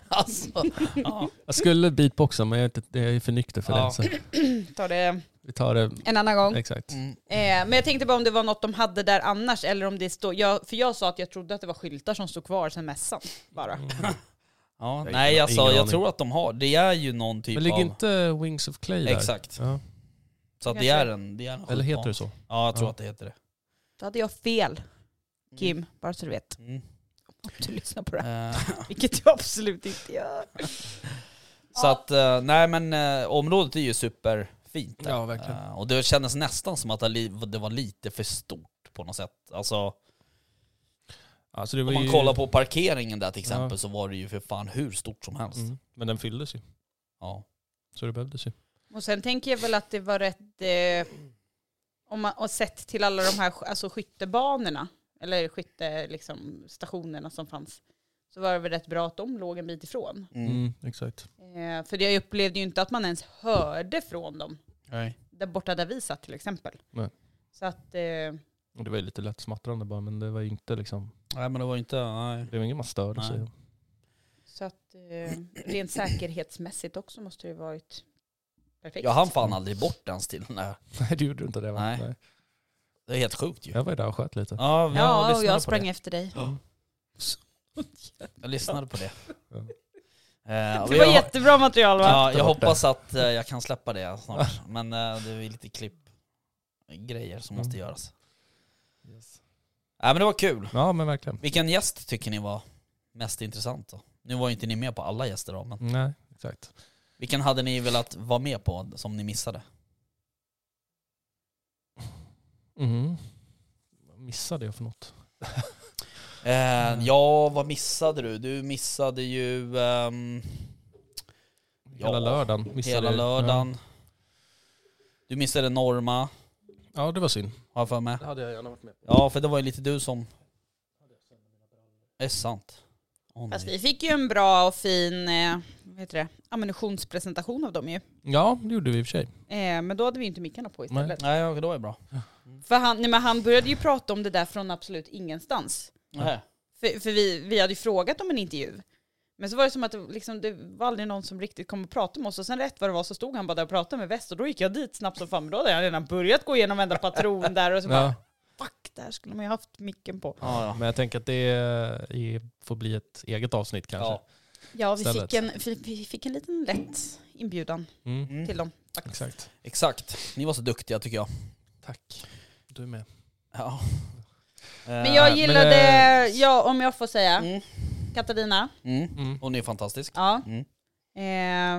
Speaker 5: alltså, ja.
Speaker 7: Jag skulle beatboxa men jag är, inte, jag är för nykter för
Speaker 5: Ja.
Speaker 7: det. Så
Speaker 6: Ta det
Speaker 7: vi tar det
Speaker 6: en annan gång.
Speaker 7: exakt.
Speaker 5: mm.
Speaker 6: Eh, men jag tänkte bara om det var något de hade där annars, eller om det stod, jag, för jag sa att jag trodde att det var skyltar som stod kvar sedan mässan. Bara.
Speaker 7: Mm.
Speaker 5: Ja,
Speaker 7: Jag har
Speaker 5: nej
Speaker 7: ingen-
Speaker 5: alltså
Speaker 7: ingen
Speaker 5: jag
Speaker 7: aning.
Speaker 5: tror att de har, det är ju någon typ
Speaker 7: Men ligger
Speaker 5: av...
Speaker 7: inte Wings of Clay där?
Speaker 5: Exakt.
Speaker 7: Ja.
Speaker 5: Så att det
Speaker 6: Kanske.
Speaker 5: är en, det är en
Speaker 7: Eller
Speaker 5: skjutbana.
Speaker 7: heter det så?
Speaker 5: Ja jag tror
Speaker 7: Ja.
Speaker 5: att det heter det.
Speaker 6: Då hade jag fel, Kim,
Speaker 5: Mm.
Speaker 6: bara så du vet.
Speaker 5: Mm.
Speaker 6: Om du lyssnar på det här.
Speaker 5: Eh,
Speaker 6: Vilket jag absolut inte gör.
Speaker 5: (laughs) så att, eh, nej men eh, området är ju superfint där.
Speaker 7: Ja, verkligen.
Speaker 5: Eh, och det kändes nästan som att det li- det var lite för stort på något sätt. Alltså
Speaker 7: Alltså det var
Speaker 5: om man
Speaker 7: ju-
Speaker 5: kollar på parkeringen där till exempel
Speaker 7: Ja.
Speaker 5: så var det ju för fan hur stort som helst.
Speaker 7: Mm. Men den fylldes ju.
Speaker 5: Ja.
Speaker 7: Så det behövdes ju.
Speaker 6: Och sen tänker jag väl att det var rätt, eh, om man, och sett till alla de här sk- alltså, skyttebanorna, eller skytte, liksom, stationerna som fanns, så var det väl rätt bra att de låg en bit ifrån.
Speaker 5: Mm.
Speaker 7: exakt.
Speaker 6: Eh, för jag upplevde ju inte att man ens hörde från dem,
Speaker 5: Nej.
Speaker 6: där borta där vi satt till exempel.
Speaker 7: Nej.
Speaker 6: Så att, eh,
Speaker 7: Och Det var ju lite lätt smattrande bara men det var ju inte liksom,
Speaker 5: nej men det var inte, nej.
Speaker 7: det var inget man störde
Speaker 5: Nej.
Speaker 7: sig av.
Speaker 6: så att eh, rent säkerhetsmässigt också måste det varit perfekt.
Speaker 5: Jag hann fan aldrig bort ens till den där.
Speaker 7: (laughs) Nej det gjorde du inte det va?
Speaker 5: Nej. Det är helt sjukt ju.
Speaker 7: Jag var ju där och sköt lite.
Speaker 5: Ja, jag
Speaker 6: Ja, och
Speaker 5: lyssnade
Speaker 6: jag
Speaker 5: på
Speaker 6: sprang
Speaker 5: det.
Speaker 6: efter dig.
Speaker 5: Jag lyssnade på det.
Speaker 7: (laughs) Ja.
Speaker 5: Eh, och
Speaker 6: Det var
Speaker 5: jag-
Speaker 6: jättebra material va?
Speaker 5: Ja,
Speaker 7: Ta
Speaker 5: jag
Speaker 7: bort det.
Speaker 5: hoppas att eh, jag kan släppa det snart. Men eh, det är lite klippgrejer som måste
Speaker 7: Mm.
Speaker 5: göras. Nej men det var kul.
Speaker 7: Ja men verkligen.
Speaker 5: Vilken gäst tycker ni var mest intressant då? Nu var ju inte ni med på alla gäster då, men
Speaker 7: Nej exakt.
Speaker 5: vilken hade ni velat vara med på som ni missade?
Speaker 7: Mhm. Vad missade jag för något?
Speaker 5: Eh,
Speaker 7: Mm.
Speaker 5: ja, vad missade du? Du missade ju ehm,
Speaker 7: Hela lördagen. Missade
Speaker 5: hela
Speaker 7: jag.
Speaker 5: lördagen. Du missade Norma,
Speaker 7: Ja. ja det var synd.
Speaker 5: har jag för mig.
Speaker 7: hade jag gärna varit med
Speaker 5: Ja, för det var ju lite du som... Det är sant. Åh,
Speaker 6: Fast
Speaker 5: nej.
Speaker 6: vi fick ju en bra och fin eh, vad heter det? ammunitionspresentation av dem ju.
Speaker 7: Ja det gjorde vi i och för sig.
Speaker 6: Eh, men då hade vi ju inte mickarna på istället.
Speaker 5: Nej, ja, då är det bra.
Speaker 6: För han, nej, men han började ju prata om det där från absolut ingenstans.
Speaker 5: Nej.
Speaker 6: För, för vi, vi hade ju frågat om en intervju. Men så var det som att det, liksom, det var aldrig någon som riktigt kom och pratade med oss. Och sen rätt vad det var så stod han bara där och pratade med väst. Och då gick jag dit snabbt som fan. Men då hade jag redan börjat gå igenom varenda patron där. Och så bara,
Speaker 7: Ja.
Speaker 6: fuck, där skulle man ju haft micken på.
Speaker 5: Ja, ja.
Speaker 7: Men jag tänker att det är, får bli ett eget avsnitt kanske.
Speaker 5: Ja.
Speaker 6: Ja, vi
Speaker 7: Istället.
Speaker 6: fick, en, vi, vi fick en liten lätt inbjudan
Speaker 7: Mm.
Speaker 5: Mm.
Speaker 6: till dem.
Speaker 7: Exakt.
Speaker 5: Exakt. Ni var så duktiga tycker jag.
Speaker 7: Tack. Du är med.
Speaker 5: Ja.
Speaker 6: Men jag
Speaker 7: Eh, men,
Speaker 6: gillade,
Speaker 7: eh,
Speaker 6: ja, om jag får säga,
Speaker 5: Mm.
Speaker 6: Katarina.
Speaker 5: Mm.
Speaker 7: Mm.
Speaker 5: Hon är fantastisk.
Speaker 6: Ja.
Speaker 5: Mm.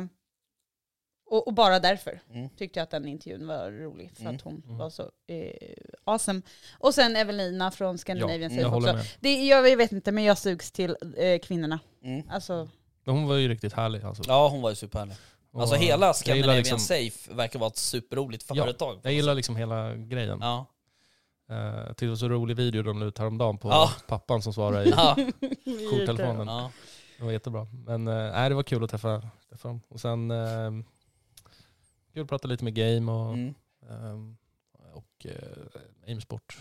Speaker 6: Eh, och, och bara därför
Speaker 5: Mm.
Speaker 6: tyckte jag att den intervjun var rolig, för
Speaker 5: Mm.
Speaker 6: att hon
Speaker 7: Mm.
Speaker 6: var så eh, awesome. Och sen Evelina från Scandinavian
Speaker 7: jag
Speaker 6: Safe
Speaker 7: håller
Speaker 6: också.
Speaker 7: med.
Speaker 6: Det, jag vet inte, men jag sugs till eh, kvinnorna.
Speaker 5: Mm.
Speaker 7: (laughs)
Speaker 6: Alltså,
Speaker 7: Men hon var ju riktigt härlig alltså.
Speaker 5: Ja, hon var ju superhärlig. Alltså
Speaker 7: Och eh,
Speaker 5: hela
Speaker 7: jag
Speaker 5: Scandinavian
Speaker 7: gillar, liksom,
Speaker 5: Safe verkar vara ett superroligt
Speaker 7: Ja,
Speaker 5: företag. på något
Speaker 7: jag gillar
Speaker 5: sätt.
Speaker 7: liksom hela grejen.
Speaker 5: Ja.
Speaker 7: Eh, tyckte det var så rolig video de la ut häromdagen på
Speaker 5: Ja.
Speaker 7: pappan som svarade i (laughs)
Speaker 5: Ja,
Speaker 7: jourtelefonen.
Speaker 5: ja.
Speaker 7: Det var jättebra. Men eh, nej, det var kul att träffa, träffa dem. Och sen eh, kul att prata lite med Game och,
Speaker 5: Mm.
Speaker 7: ehm, och eh, Aimsport.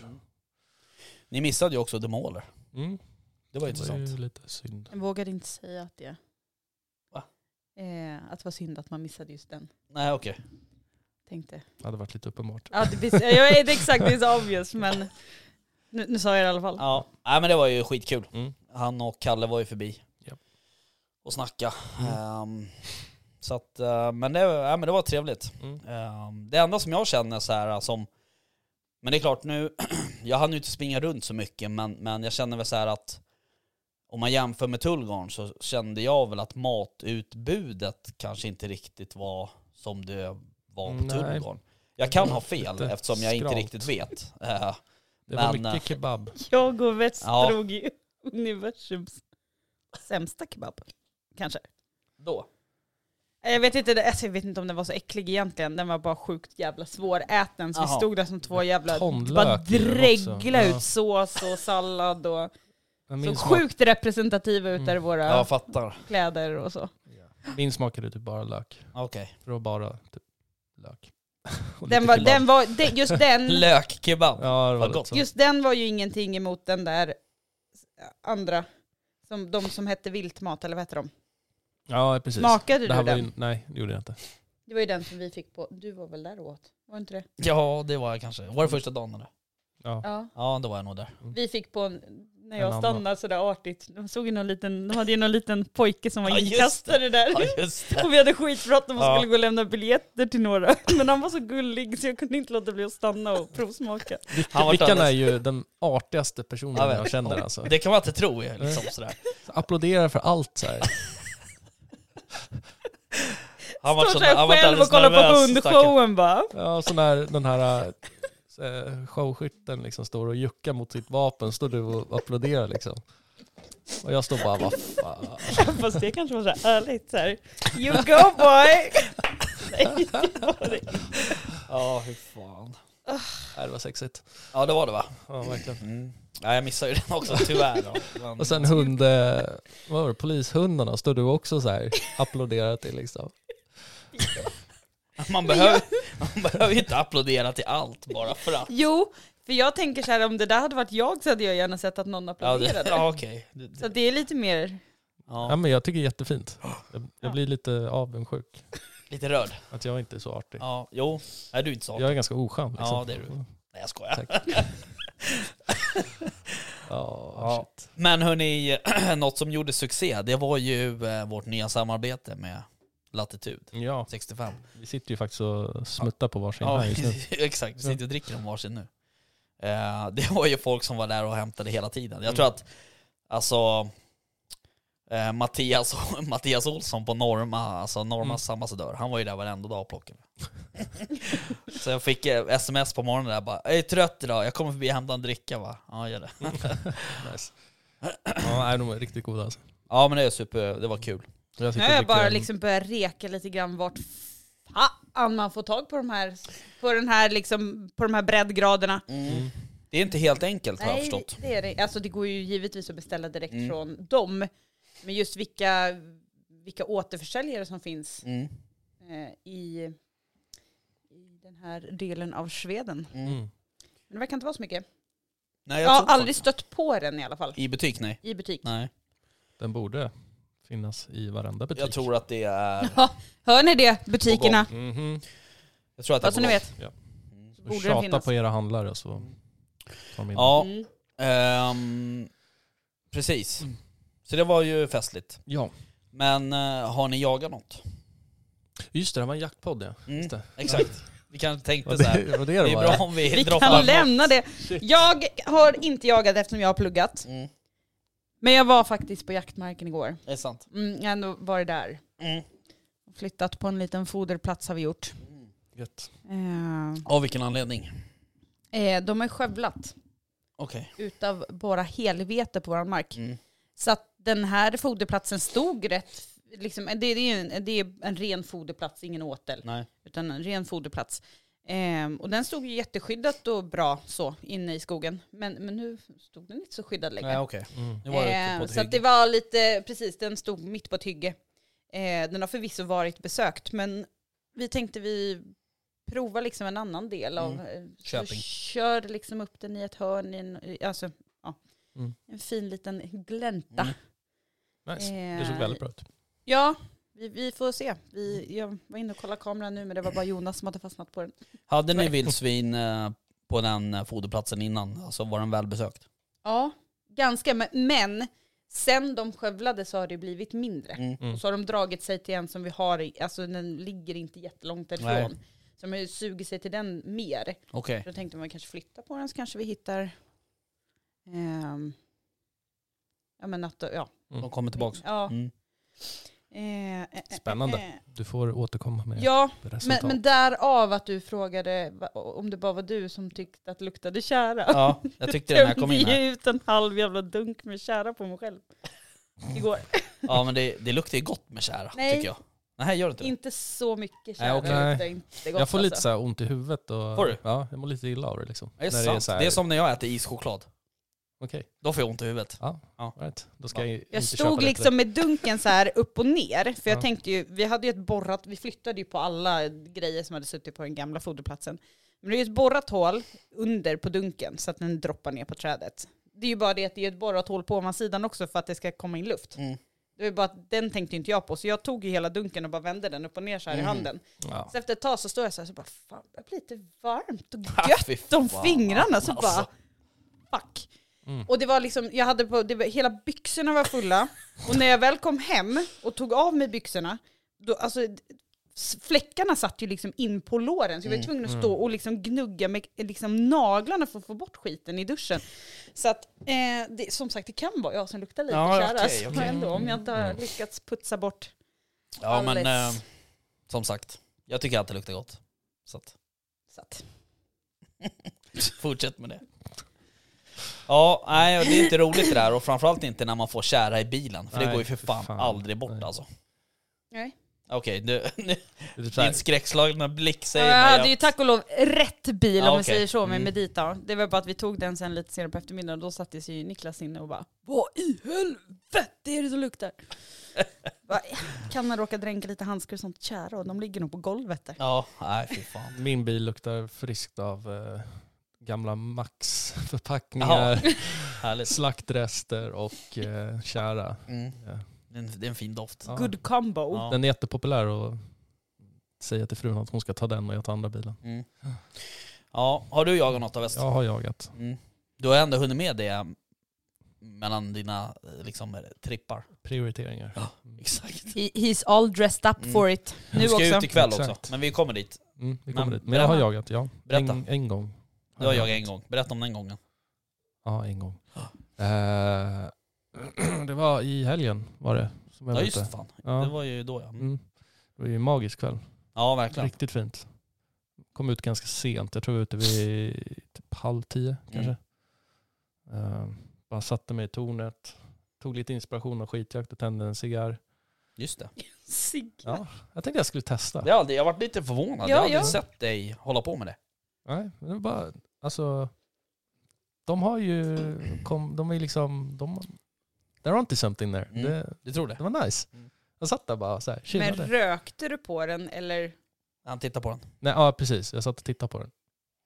Speaker 5: Ni missade ju också The Mauler.
Speaker 7: Mm.
Speaker 5: Det var ju
Speaker 7: Det var
Speaker 5: intressant.
Speaker 7: ju lite synd.
Speaker 6: Jag vågade inte säga att det...
Speaker 5: Va?
Speaker 6: Eh, att det var synd att man missade just den.
Speaker 5: Nej okej.
Speaker 6: Tänkte.
Speaker 7: Det hade varit lite uppenbart.
Speaker 6: Ja, det, visst, jag är det är exakt, det är så obvious men nu, nu sa jag det i alla fall.
Speaker 5: Ja. Nej men det var ju skitkul.
Speaker 7: Mm.
Speaker 5: Han och Kalle var ju förbi.
Speaker 7: Ja.
Speaker 5: Och snacka.
Speaker 7: Mm.
Speaker 5: Ehm, så att, eh, men, det, ja, men det var trevligt.
Speaker 7: Mm.
Speaker 5: Ehm, det enda som jag känner så här som, men det är klart nu, (clears throat) jag hann ju inte springa runt så mycket men, men jag känner väl så här att om man jämför med Tullgarn så kände jag väl att matutbudet kanske inte riktigt var som det var på
Speaker 7: Nej.
Speaker 5: Tullgarn. Jag kan ha fel
Speaker 7: Lite
Speaker 5: eftersom jag inte
Speaker 7: skralt.
Speaker 5: riktigt vet. Eh,
Speaker 7: Det var
Speaker 5: Men,
Speaker 7: mycket kebab.
Speaker 6: (laughs) Jag och väst
Speaker 5: Ja.
Speaker 6: drog ju universums sämsta kebab. Kanske.
Speaker 5: då.
Speaker 6: Eh, Jag vet, inte, det- alltså jag vet inte om den var så äcklig egentligen, den var bara sjukt jävla svåräten. Så vi
Speaker 5: Jaha.
Speaker 6: stod där som två jävla...
Speaker 7: Ton
Speaker 6: Bara
Speaker 7: lök i den också.
Speaker 6: dregla
Speaker 7: Ja.
Speaker 6: ut sås och sallad och...
Speaker 7: Men
Speaker 6: Så
Speaker 7: (laughs) Min, smak, Mm.
Speaker 6: sjukt representativa ut där i våra
Speaker 5: Jag fattar.
Speaker 6: kläder och så.
Speaker 7: min smakade typ bara lök.
Speaker 5: Okej.
Speaker 7: För det var bara typ lök. (laughs) Och
Speaker 6: Den
Speaker 7: lite
Speaker 6: var,
Speaker 7: kebab.
Speaker 6: den var, de-
Speaker 7: (laughs)
Speaker 6: just, den,
Speaker 5: Lökkebab.
Speaker 7: Ja, det var
Speaker 5: Vad
Speaker 7: lite
Speaker 5: gott.
Speaker 7: så.
Speaker 6: just den var ju ingenting emot den där andra. Som, de som hette viltmat, eller vad hette de?
Speaker 7: Ja, precis.
Speaker 6: Smakade
Speaker 7: det här
Speaker 6: du
Speaker 7: var
Speaker 6: den?
Speaker 7: ju, nej, det gjorde jag inte.
Speaker 6: Det var ju den som vi fick på, du var väl där och åt? Var inte det?
Speaker 5: Ja, det var jag kanske. Var det första dagen eller?
Speaker 7: Ja.
Speaker 6: Ja.
Speaker 5: Ja, då var jag nog
Speaker 7: (laughs)
Speaker 5: där.
Speaker 6: Vi fick på, en, när
Speaker 7: En
Speaker 6: jag
Speaker 7: annan.
Speaker 6: stannade sådär artigt, de såg ju någon liten, de hade ju någon liten pojke som var
Speaker 5: Ja, just
Speaker 6: inkastare där.
Speaker 5: Ja, just det.
Speaker 6: Och vi hade skitbråttom och
Speaker 5: Ja.
Speaker 6: skulle gå och lämna biljetter till några. Men han var så gullig så jag kunde inte låta bli att stanna och provsmaka.
Speaker 5: Han var
Speaker 7: Vickan är
Speaker 5: alldeles-
Speaker 7: ju den artigaste personen
Speaker 5: Jag
Speaker 7: jag,
Speaker 5: vet.
Speaker 7: känner alltså.
Speaker 5: Det kan man inte tro liksom sådär.
Speaker 7: Applåderar för allt så här.
Speaker 5: Han var
Speaker 6: Står där själv och kollar på hundshowen bara.
Speaker 7: Ja, så när den här eh, showskytten liksom står och juckar mot sitt vapen, står du och applåderar liksom. Och jag står bara, vad fan.
Speaker 6: Fast det kanske var så här ärligt så här. You go boy! Nej, det var det.
Speaker 5: Ja, hur fan.
Speaker 7: Nej, Det var sexigt.
Speaker 5: Ja, det var det va?
Speaker 7: Ja, verkligen.
Speaker 5: Mm. Ja, jag missade ju den också tyvärr. Då. Men,
Speaker 7: Och sen hund, eh, vad var det, polishundarna, står du också så här applåderar till liksom.
Speaker 5: man, behöver, man behöver ju inte applådera till allt bara för att.
Speaker 6: Jo, för jag tänker så här om det där hade varit jag så hade jag gärna sett att någon
Speaker 5: Ja, det,
Speaker 6: applåderade.
Speaker 5: ja okej. Det-
Speaker 6: Så
Speaker 5: det-
Speaker 6: att det är lite mer,
Speaker 7: Ja
Speaker 5: Ja,
Speaker 7: men jag tycker det är jättefint. Jag, jag blir lite avundsjuk
Speaker 5: lite rörd.
Speaker 7: att jag inte är så artig.
Speaker 5: Ja, jo. Nej, du är inte så.
Speaker 7: Jag är ganska oskön liksom.
Speaker 5: Ja, det är du. Nej, jag skojar.
Speaker 7: Tack. Ja,
Speaker 5: Ja.
Speaker 7: shit.
Speaker 5: Men hörni, (clears throat) något som gjorde succé, det var ju eh, vårt nya samarbete med Latitud
Speaker 7: Ja,
Speaker 5: 65.
Speaker 7: vi sitter ju faktiskt och smuttar på varsin
Speaker 5: Ja,
Speaker 7: här just nu.
Speaker 5: (laughs) exakt. Vi sitter och dricker om varsin nu. Eh, det var ju folk som var där och hämtade hela tiden. Jag
Speaker 7: Mm.
Speaker 5: tror att, alltså, eh, Mattias, (laughs) Mattias Olsson på Norma, alltså Normas
Speaker 7: Mm.
Speaker 5: ambassadör, han var ju där varenda dag och plockade. Så jag fick eh, sms på morgonen där bara, jag är trött idag, jag kommer förbi och hämtar en dricka va? Ja, gör det.
Speaker 7: Mm. Nice. (clears throat) Ja, nej, de är riktigt goda alltså.
Speaker 5: Ja men det är super, det var kul.
Speaker 7: Jag
Speaker 6: nu
Speaker 7: sitter
Speaker 6: har jag
Speaker 7: och dricker
Speaker 6: bara
Speaker 7: en-
Speaker 6: liksom börjat reka lite grann vart fan man får tag på de här, på den här liksom, på de här breddgraderna.
Speaker 5: Mm. Det är inte helt enkelt har jag förstått.
Speaker 6: det är det. Alltså det går ju givetvis att beställa direkt
Speaker 5: Mm.
Speaker 6: från dem. Men just vilka, vilka återförsäljare som finns
Speaker 5: Mm.
Speaker 6: eh, i, i den här delen av Sveden.
Speaker 7: Mm.
Speaker 6: Men det verkar inte vara så mycket.
Speaker 5: Nej,
Speaker 6: Jag
Speaker 5: jag
Speaker 6: har
Speaker 5: tror inte
Speaker 6: aldrig stött på den i alla fall.
Speaker 5: I butik, nej.
Speaker 6: I butik.
Speaker 5: nej.
Speaker 7: Den borde finnas i varenda butik.
Speaker 5: Jag tror att det är...
Speaker 6: Ja, (laughs) hör ni det? Butikerna.
Speaker 7: Mhm.
Speaker 5: Jag tror att det Mm.
Speaker 6: Bara
Speaker 5: är
Speaker 6: så Alltså,
Speaker 5: på
Speaker 6: ni vet.
Speaker 5: gång.
Speaker 6: Så
Speaker 7: Och
Speaker 6: borde den
Speaker 7: Tjata
Speaker 6: finnas.
Speaker 7: på era handlare så
Speaker 5: Mm.
Speaker 7: tar de in.
Speaker 5: Ja,
Speaker 6: Mm.
Speaker 5: ehm, precis.
Speaker 7: Mm.
Speaker 5: Så det var ju festligt.
Speaker 7: ja.
Speaker 5: Men eh, har ni jagat något?
Speaker 7: Just det, det var en jaktpodd ja.
Speaker 5: Mm,
Speaker 7: Just det.
Speaker 5: Exakt. Vi kanske tänkte
Speaker 7: Vad
Speaker 5: så
Speaker 7: (laughs)
Speaker 5: här.
Speaker 7: det, vad det,
Speaker 5: Det (laughs)
Speaker 7: det
Speaker 5: är
Speaker 7: var.
Speaker 5: bra om vi,
Speaker 6: Vi
Speaker 5: droppar
Speaker 6: kan lämna det.
Speaker 7: Shit.
Speaker 6: Jag har inte jagat eftersom jag har pluggat.
Speaker 5: Mm,
Speaker 6: Men jag var faktiskt på jaktmarken igår.
Speaker 5: det är sant.
Speaker 6: Mm, jag har ändå varit där.
Speaker 5: Mm.
Speaker 6: Flyttat på en liten foderplats har vi gjort.
Speaker 7: Gött.
Speaker 6: Eh,
Speaker 5: Av vilken anledning?
Speaker 6: Eh, de har skövlat
Speaker 5: Okej.
Speaker 6: utav bara helvete på vår mark.
Speaker 5: Mm.
Speaker 6: Så att den här foderplatsen stod rätt liksom, det, det är ju en, det är en ren foderplats, ingen åtel.
Speaker 5: Nej.
Speaker 6: Utan en ren foderplats. Ehm, och den stod ju jätteskyddat och bra så inne i skogen. Men, men nu stod den inte så skyddad längre.
Speaker 5: Nej okej.
Speaker 7: Mm.
Speaker 5: Nu var det ute
Speaker 6: Ehm,
Speaker 5: på ett
Speaker 6: så att det
Speaker 5: hygge.
Speaker 6: var lite, precis, den stod mitt på ett hygge. Ehm, den har förvisso varit besökt, men vi tänkte vi provar liksom en annan del av... eh, så
Speaker 5: Mm. Köping.
Speaker 6: Kör liksom upp den i ett hörn, i en, i- alltså, ja,
Speaker 7: Mm.
Speaker 6: en fin liten glänta.
Speaker 5: Mm.
Speaker 7: Nice.
Speaker 6: Ehm,
Speaker 7: Det såg väldigt bra ut.
Speaker 6: Ja, vi, vi får se. Vi, jag var inne och kollade kameran nu, men det var bara Jonas som hade fastnat på den.
Speaker 5: Hade ni vildsvin eh, på den eh, foderplatsen innan? Alltså var den välbesökt?
Speaker 6: Ja, ganska. Men, men sen de skövlade så har det blivit mindre.
Speaker 5: Mm.
Speaker 7: Mm.
Speaker 6: Och så har de dragit sig till en som vi har, i- alltså den ligger inte jättelångt därifrån.
Speaker 5: Nej.
Speaker 6: Så de har ju sugit sig till den mer.
Speaker 5: Okej.
Speaker 6: Då tänkte man kanske flytta på den så kanske vi hittar... ehm, ja men att, ja.
Speaker 5: De kommer tillbaka.
Speaker 6: ja
Speaker 5: Mm.
Speaker 6: eh, eh, eh,
Speaker 7: Spännande.
Speaker 6: eh.
Speaker 7: Du får återkomma med
Speaker 6: Ja, men,
Speaker 7: resultat.
Speaker 6: men därav att du frågade va- om det bara var du som tyckte att det luktade tjära.
Speaker 5: Ja, jag tyckte det när jag kom in
Speaker 6: tömde (laughs)
Speaker 5: här.
Speaker 6: ju ut en halv jävla dunk med tjära på mig själv.
Speaker 7: (laughs)
Speaker 6: Igår.
Speaker 5: Ja men det, det luktar ju gott med tjära
Speaker 6: Nej.
Speaker 5: tycker jag. Nej gör det inte det?
Speaker 6: inte så mycket
Speaker 5: Nej,
Speaker 6: tjära
Speaker 5: okej.
Speaker 6: luktar inte gott
Speaker 7: jag får lite
Speaker 6: alltså.
Speaker 7: så här ont i huvudet. Och,
Speaker 5: Får du?
Speaker 7: Ja, jag mår lite illa av det liksom.
Speaker 5: Det är,
Speaker 7: När
Speaker 5: sant. Det, är
Speaker 7: så här-
Speaker 5: som när jag äter ischoklad.
Speaker 7: Okej,
Speaker 5: Då får jag ont i huvudet.
Speaker 7: right. då ska jag inte
Speaker 6: Jag
Speaker 7: köpa
Speaker 6: stod
Speaker 7: lite.
Speaker 6: liksom med dunken så här upp och ner, för jag
Speaker 7: Ja.
Speaker 6: tänkte ju, vi hade ju ett borrat, vi flyttade ju på alla grejer som hade suttit på den gamla foderplatsen. Men det är ju ett borrat hål under på dunken så att den droppar ner på trädet. Det är ju bara det att det är ett borrat hål på ovansidan också för att det ska komma in luft.
Speaker 5: Mm.
Speaker 6: Det var ju bara att den tänkte inte jag på, så jag tog ju hela dunken och bara vände den upp och ner så här
Speaker 5: Mhm.
Speaker 6: i handen.
Speaker 7: Ja.
Speaker 6: Så efter ett tag så står jag så här, så bara fan, det blir lite
Speaker 5: (laughs)
Speaker 6: varmt och
Speaker 5: Ah,
Speaker 6: gött
Speaker 5: fy
Speaker 6: om
Speaker 5: fan,
Speaker 6: fingrarna. Så
Speaker 5: alltså.
Speaker 6: bara, fuck.
Speaker 7: Mm.
Speaker 6: Och det var liksom, jag hade på, det var, hela byxorna var fulla. Och när jag väl kom hem och tog av mig byxorna, då, alltså s- fläckarna satt ju liksom in på låren.
Speaker 5: Mm,
Speaker 6: Så jag var tvungen att stå och liksom gnugga med liksom naglarna för att få bort skiten i duschen. Så att, eh, det, som sagt, det kan vara jag som luktar lite
Speaker 5: Ja,
Speaker 6: tjära.
Speaker 5: okej,
Speaker 6: så
Speaker 5: okej. Mm.
Speaker 6: ändå, om jag inte har lyckats putsa bort
Speaker 5: Ja men eh,
Speaker 6: Alldeles.
Speaker 5: som sagt, jag tycker att det luktar gott. Så att, (laughs)
Speaker 6: så att,
Speaker 5: fortsätt med det. Ja, nej det är inte roligt det där och framförallt inte när man får tjära i bilen. För det
Speaker 7: Nej,
Speaker 5: går ju för
Speaker 7: för
Speaker 5: fan,
Speaker 7: fan.
Speaker 5: aldrig bort
Speaker 7: Nej.
Speaker 5: alltså.
Speaker 6: nej.
Speaker 5: Okej, (laughs) du,
Speaker 7: Det är typ så här-
Speaker 5: din skräckslagna blick
Speaker 6: Ja,
Speaker 5: säger
Speaker 6: jag
Speaker 5: mig
Speaker 6: hade
Speaker 5: att-
Speaker 6: ju tack och lov rätt bil
Speaker 5: Ja,
Speaker 6: om vi
Speaker 5: okej.
Speaker 6: säger så med
Speaker 5: Mm.
Speaker 6: Medita. Det var bara att vi tog den sen lite senare på eftermiddagen och då sattes ju Niklas inne och bara Vad i helvete är det
Speaker 5: (laughs)
Speaker 6: som luktar? Bara, kan han råka dränka lite handskar och sånt kära och de ligger nog på golvet där.
Speaker 5: Ja, nej fy fan.
Speaker 7: Min bil luktar friskt av eh, gamla Max-förpackningar,
Speaker 5: Härligt.
Speaker 7: (laughs) slaktrester och eh, kära.
Speaker 5: Mm.
Speaker 7: Ja.
Speaker 5: Det, är en, det är en fin doft.
Speaker 7: Ja.
Speaker 6: Good combo.
Speaker 5: Ja.
Speaker 7: Den är jättepopulär och säger till frun att hon ska ta den och jag tar andra bilen.
Speaker 5: Mm. Ja, har du jagat något av väst?
Speaker 7: Jag har jagat.
Speaker 5: Mm. Du har ändå hunnit med det mellan dina eh, liksom, trippar.
Speaker 7: Prioriteringar.
Speaker 5: Ja, (laughs) exakt.
Speaker 6: He, he's all dressed up
Speaker 5: Mm.
Speaker 6: for it. Nu
Speaker 5: Du ska
Speaker 6: också.
Speaker 5: ut ikväll också,
Speaker 7: Exakt.
Speaker 5: men vi kommer dit.
Speaker 7: Mm, vi kommer
Speaker 5: Men
Speaker 7: dit. Men jag har
Speaker 5: berätta.
Speaker 7: jagat, ja.
Speaker 5: Berätta.
Speaker 7: En, en gång.
Speaker 5: Du har jagat en gång, berätta om den gången.
Speaker 7: Ja, en gång. Eh, (clears throat) det var i helgen var det. Som jag
Speaker 5: Ja
Speaker 7: var
Speaker 5: just
Speaker 7: ute.
Speaker 5: det, fan,
Speaker 7: Ja.
Speaker 5: det var ju då ja. Mm.
Speaker 7: Mm. Det var ju en magisk kväll.
Speaker 5: Ja verkligen.
Speaker 7: Riktigt fint. Kom ut ganska sent. Jag tror jag var ute vid typ halv tio
Speaker 5: Mm.
Speaker 7: kanske. Eh, bara satte mig i tornet. Tog lite inspiration av skitjakt och tände en cigarr.
Speaker 5: Just det.
Speaker 6: Sig.
Speaker 7: Ja, jag tänkte jag skulle testa.
Speaker 5: det har aldrig, jag har varit lite förvånad,
Speaker 6: Ja,
Speaker 5: jag har aldrig
Speaker 6: ja.
Speaker 5: sett dig hålla på med det.
Speaker 7: Nej, men det var bara, alltså, de har ju, kom, de är liksom, de, there aren't something there.
Speaker 5: Mm.
Speaker 7: Det,
Speaker 5: Du tror det?
Speaker 7: det var nice.
Speaker 5: Mm.
Speaker 7: Jag satt där bara så här,
Speaker 6: Men
Speaker 7: chillade.
Speaker 6: rökte du på den eller?
Speaker 5: Han tittar på den.
Speaker 7: Nej, ja precis, jag satt och tittade på den.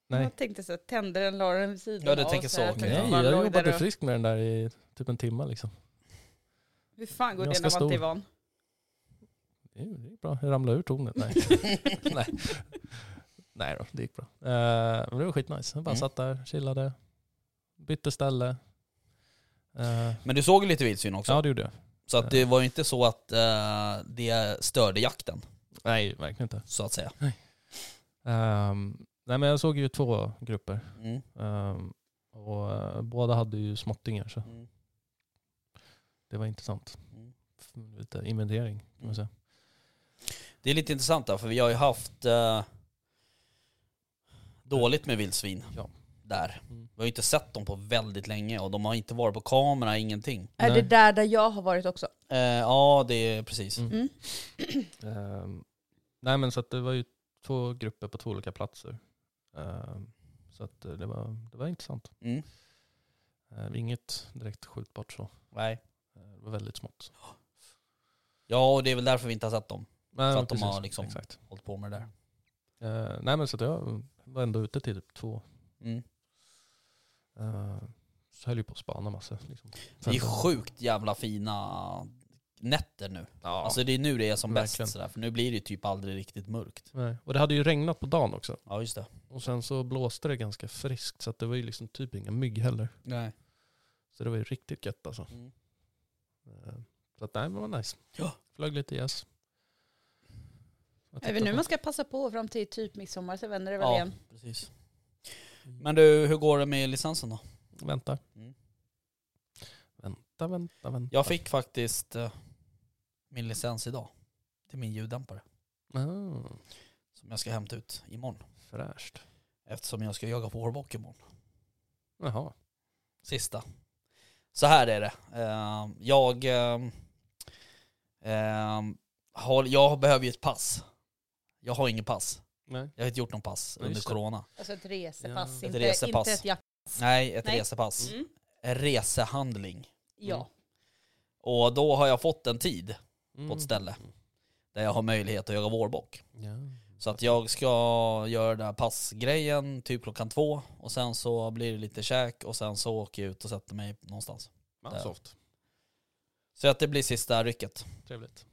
Speaker 7: Nej,
Speaker 6: Jag tänkte så här, tände den, la den vid sidan
Speaker 5: Ja, du
Speaker 6: av
Speaker 5: tänker
Speaker 6: och
Speaker 5: så,
Speaker 6: här,
Speaker 5: okej.
Speaker 6: tänkte
Speaker 7: Nej
Speaker 6: bara,
Speaker 7: jag
Speaker 6: låg där
Speaker 7: jobbade
Speaker 6: och-
Speaker 7: friskt med den där i typ en timme liksom.
Speaker 6: Hur fan går det när
Speaker 7: Ganska
Speaker 6: man inte är
Speaker 5: (laughs)
Speaker 7: stor.
Speaker 6: van?
Speaker 7: Det är det är bra, jag ramlade ur tornet. Nej. Nej. (laughs) Nej då, det gick bra. Eh, men det var skitnice. Jag bara
Speaker 5: Mm.
Speaker 7: satt där, chillade, bytte ställe. Eh,
Speaker 5: Men du såg ju lite vildsvin också.
Speaker 7: ja det gjorde jag.
Speaker 5: Så att det var ju inte så att eh, det störde jakten,
Speaker 7: Nej, verkligen inte.
Speaker 5: så att säga.
Speaker 7: Ehm, nej men jag såg ju två grupper.
Speaker 5: Mm.
Speaker 7: Ehm, och eh, båda hade ju småttingar så
Speaker 5: Mm.
Speaker 7: det var intressant.
Speaker 5: Mm.
Speaker 7: F- Lite inventering kan man säga.
Speaker 5: Det är lite intressant där, för vi har ju haft eh, dåligt med vildsvin
Speaker 7: Ja.
Speaker 5: där.
Speaker 7: Mm.
Speaker 5: Vi har ju inte sett dem på väldigt länge och de har inte varit på kamera, ingenting.
Speaker 6: Är
Speaker 7: Nej.
Speaker 6: det där där jag har varit också?
Speaker 5: Eh, ja, det är precis.
Speaker 7: Mm.
Speaker 6: Mm.
Speaker 7: (clears throat) Ehm, nej men så att det var ju två grupper på två olika platser. Ehm, så att eh, det var, det var intressant.
Speaker 5: Mm.
Speaker 7: Ehm, inget direkt skjutbart så.
Speaker 5: Nej.
Speaker 7: Ehm, det var väldigt smått.
Speaker 5: Ja, och det är väl därför vi inte har sett dem.
Speaker 7: Men,
Speaker 5: Så att de har liksom-
Speaker 7: Exakt.
Speaker 5: Hållit på med det där.
Speaker 7: Ehm, nej men så att jag var ändå ute till typ två.
Speaker 5: Mm.
Speaker 7: Ehm, så höll ju på att spana massa. Liksom.
Speaker 5: Det är sjukt jävla fina nätter nu.
Speaker 7: Ja.
Speaker 5: Alltså det är nu det är som
Speaker 7: Verkligen.
Speaker 5: bäst sådär, för nu blir det typ aldrig riktigt mörkt.
Speaker 7: Nej. Och det hade ju regnat på dagen också.
Speaker 5: Ja just det.
Speaker 7: Och sen så blåste det ganska friskt så att det var ju liksom typ inga mygg heller.
Speaker 5: Nej.
Speaker 7: Så det var ju riktigt gött alltså.
Speaker 5: Mm.
Speaker 7: Eh, Så att nej, men det var nice.
Speaker 5: Ja.
Speaker 7: Flög lite gäss. Yes.
Speaker 6: Även nu man ska passa på fram till typ midsommar så vänder det väl
Speaker 5: Ja.
Speaker 6: igen.
Speaker 5: Precis. Men du, hur går det med licensen då?
Speaker 7: Vänta.
Speaker 5: Mm.
Speaker 7: Vänta, vänta, vänta.
Speaker 5: Jag fick faktiskt eh, min licens idag. Till min ljuddämpare.
Speaker 7: Ah,
Speaker 5: Som jag ska hämta ut imorgon.
Speaker 7: fräscht.
Speaker 5: Eftersom jag ska jaga på hårbock imorgon.
Speaker 7: Jaha.
Speaker 5: sista. Så här är det. Eh, Jag, ehm, ehm, har, jag behöver ju ett pass. Jag har inget pass.
Speaker 7: Nej.
Speaker 5: Jag har inte gjort någon pass
Speaker 7: Ja, just
Speaker 5: under
Speaker 7: det.
Speaker 5: corona.
Speaker 6: Alltså ett resepass,
Speaker 7: Ja.
Speaker 6: inte,
Speaker 5: Ett resepass.
Speaker 6: inte ett jakt.
Speaker 5: Nej, ett
Speaker 6: Nej.
Speaker 5: resepass.
Speaker 6: Mm.
Speaker 5: En resehandling.
Speaker 6: Ja.
Speaker 5: Och då har jag fått en tid på
Speaker 7: Mm.
Speaker 5: ett ställe där jag har möjlighet att göra vårbock.
Speaker 7: Ja.
Speaker 5: Så att jag ska göra den här passgrejen typ klockan två och sen så blir det lite käk och sen så åker jag ut och sätter mig någonstans.
Speaker 7: Man,
Speaker 5: Där.
Speaker 7: soft.
Speaker 5: Så att det blir sista rycket.
Speaker 7: Trevligt.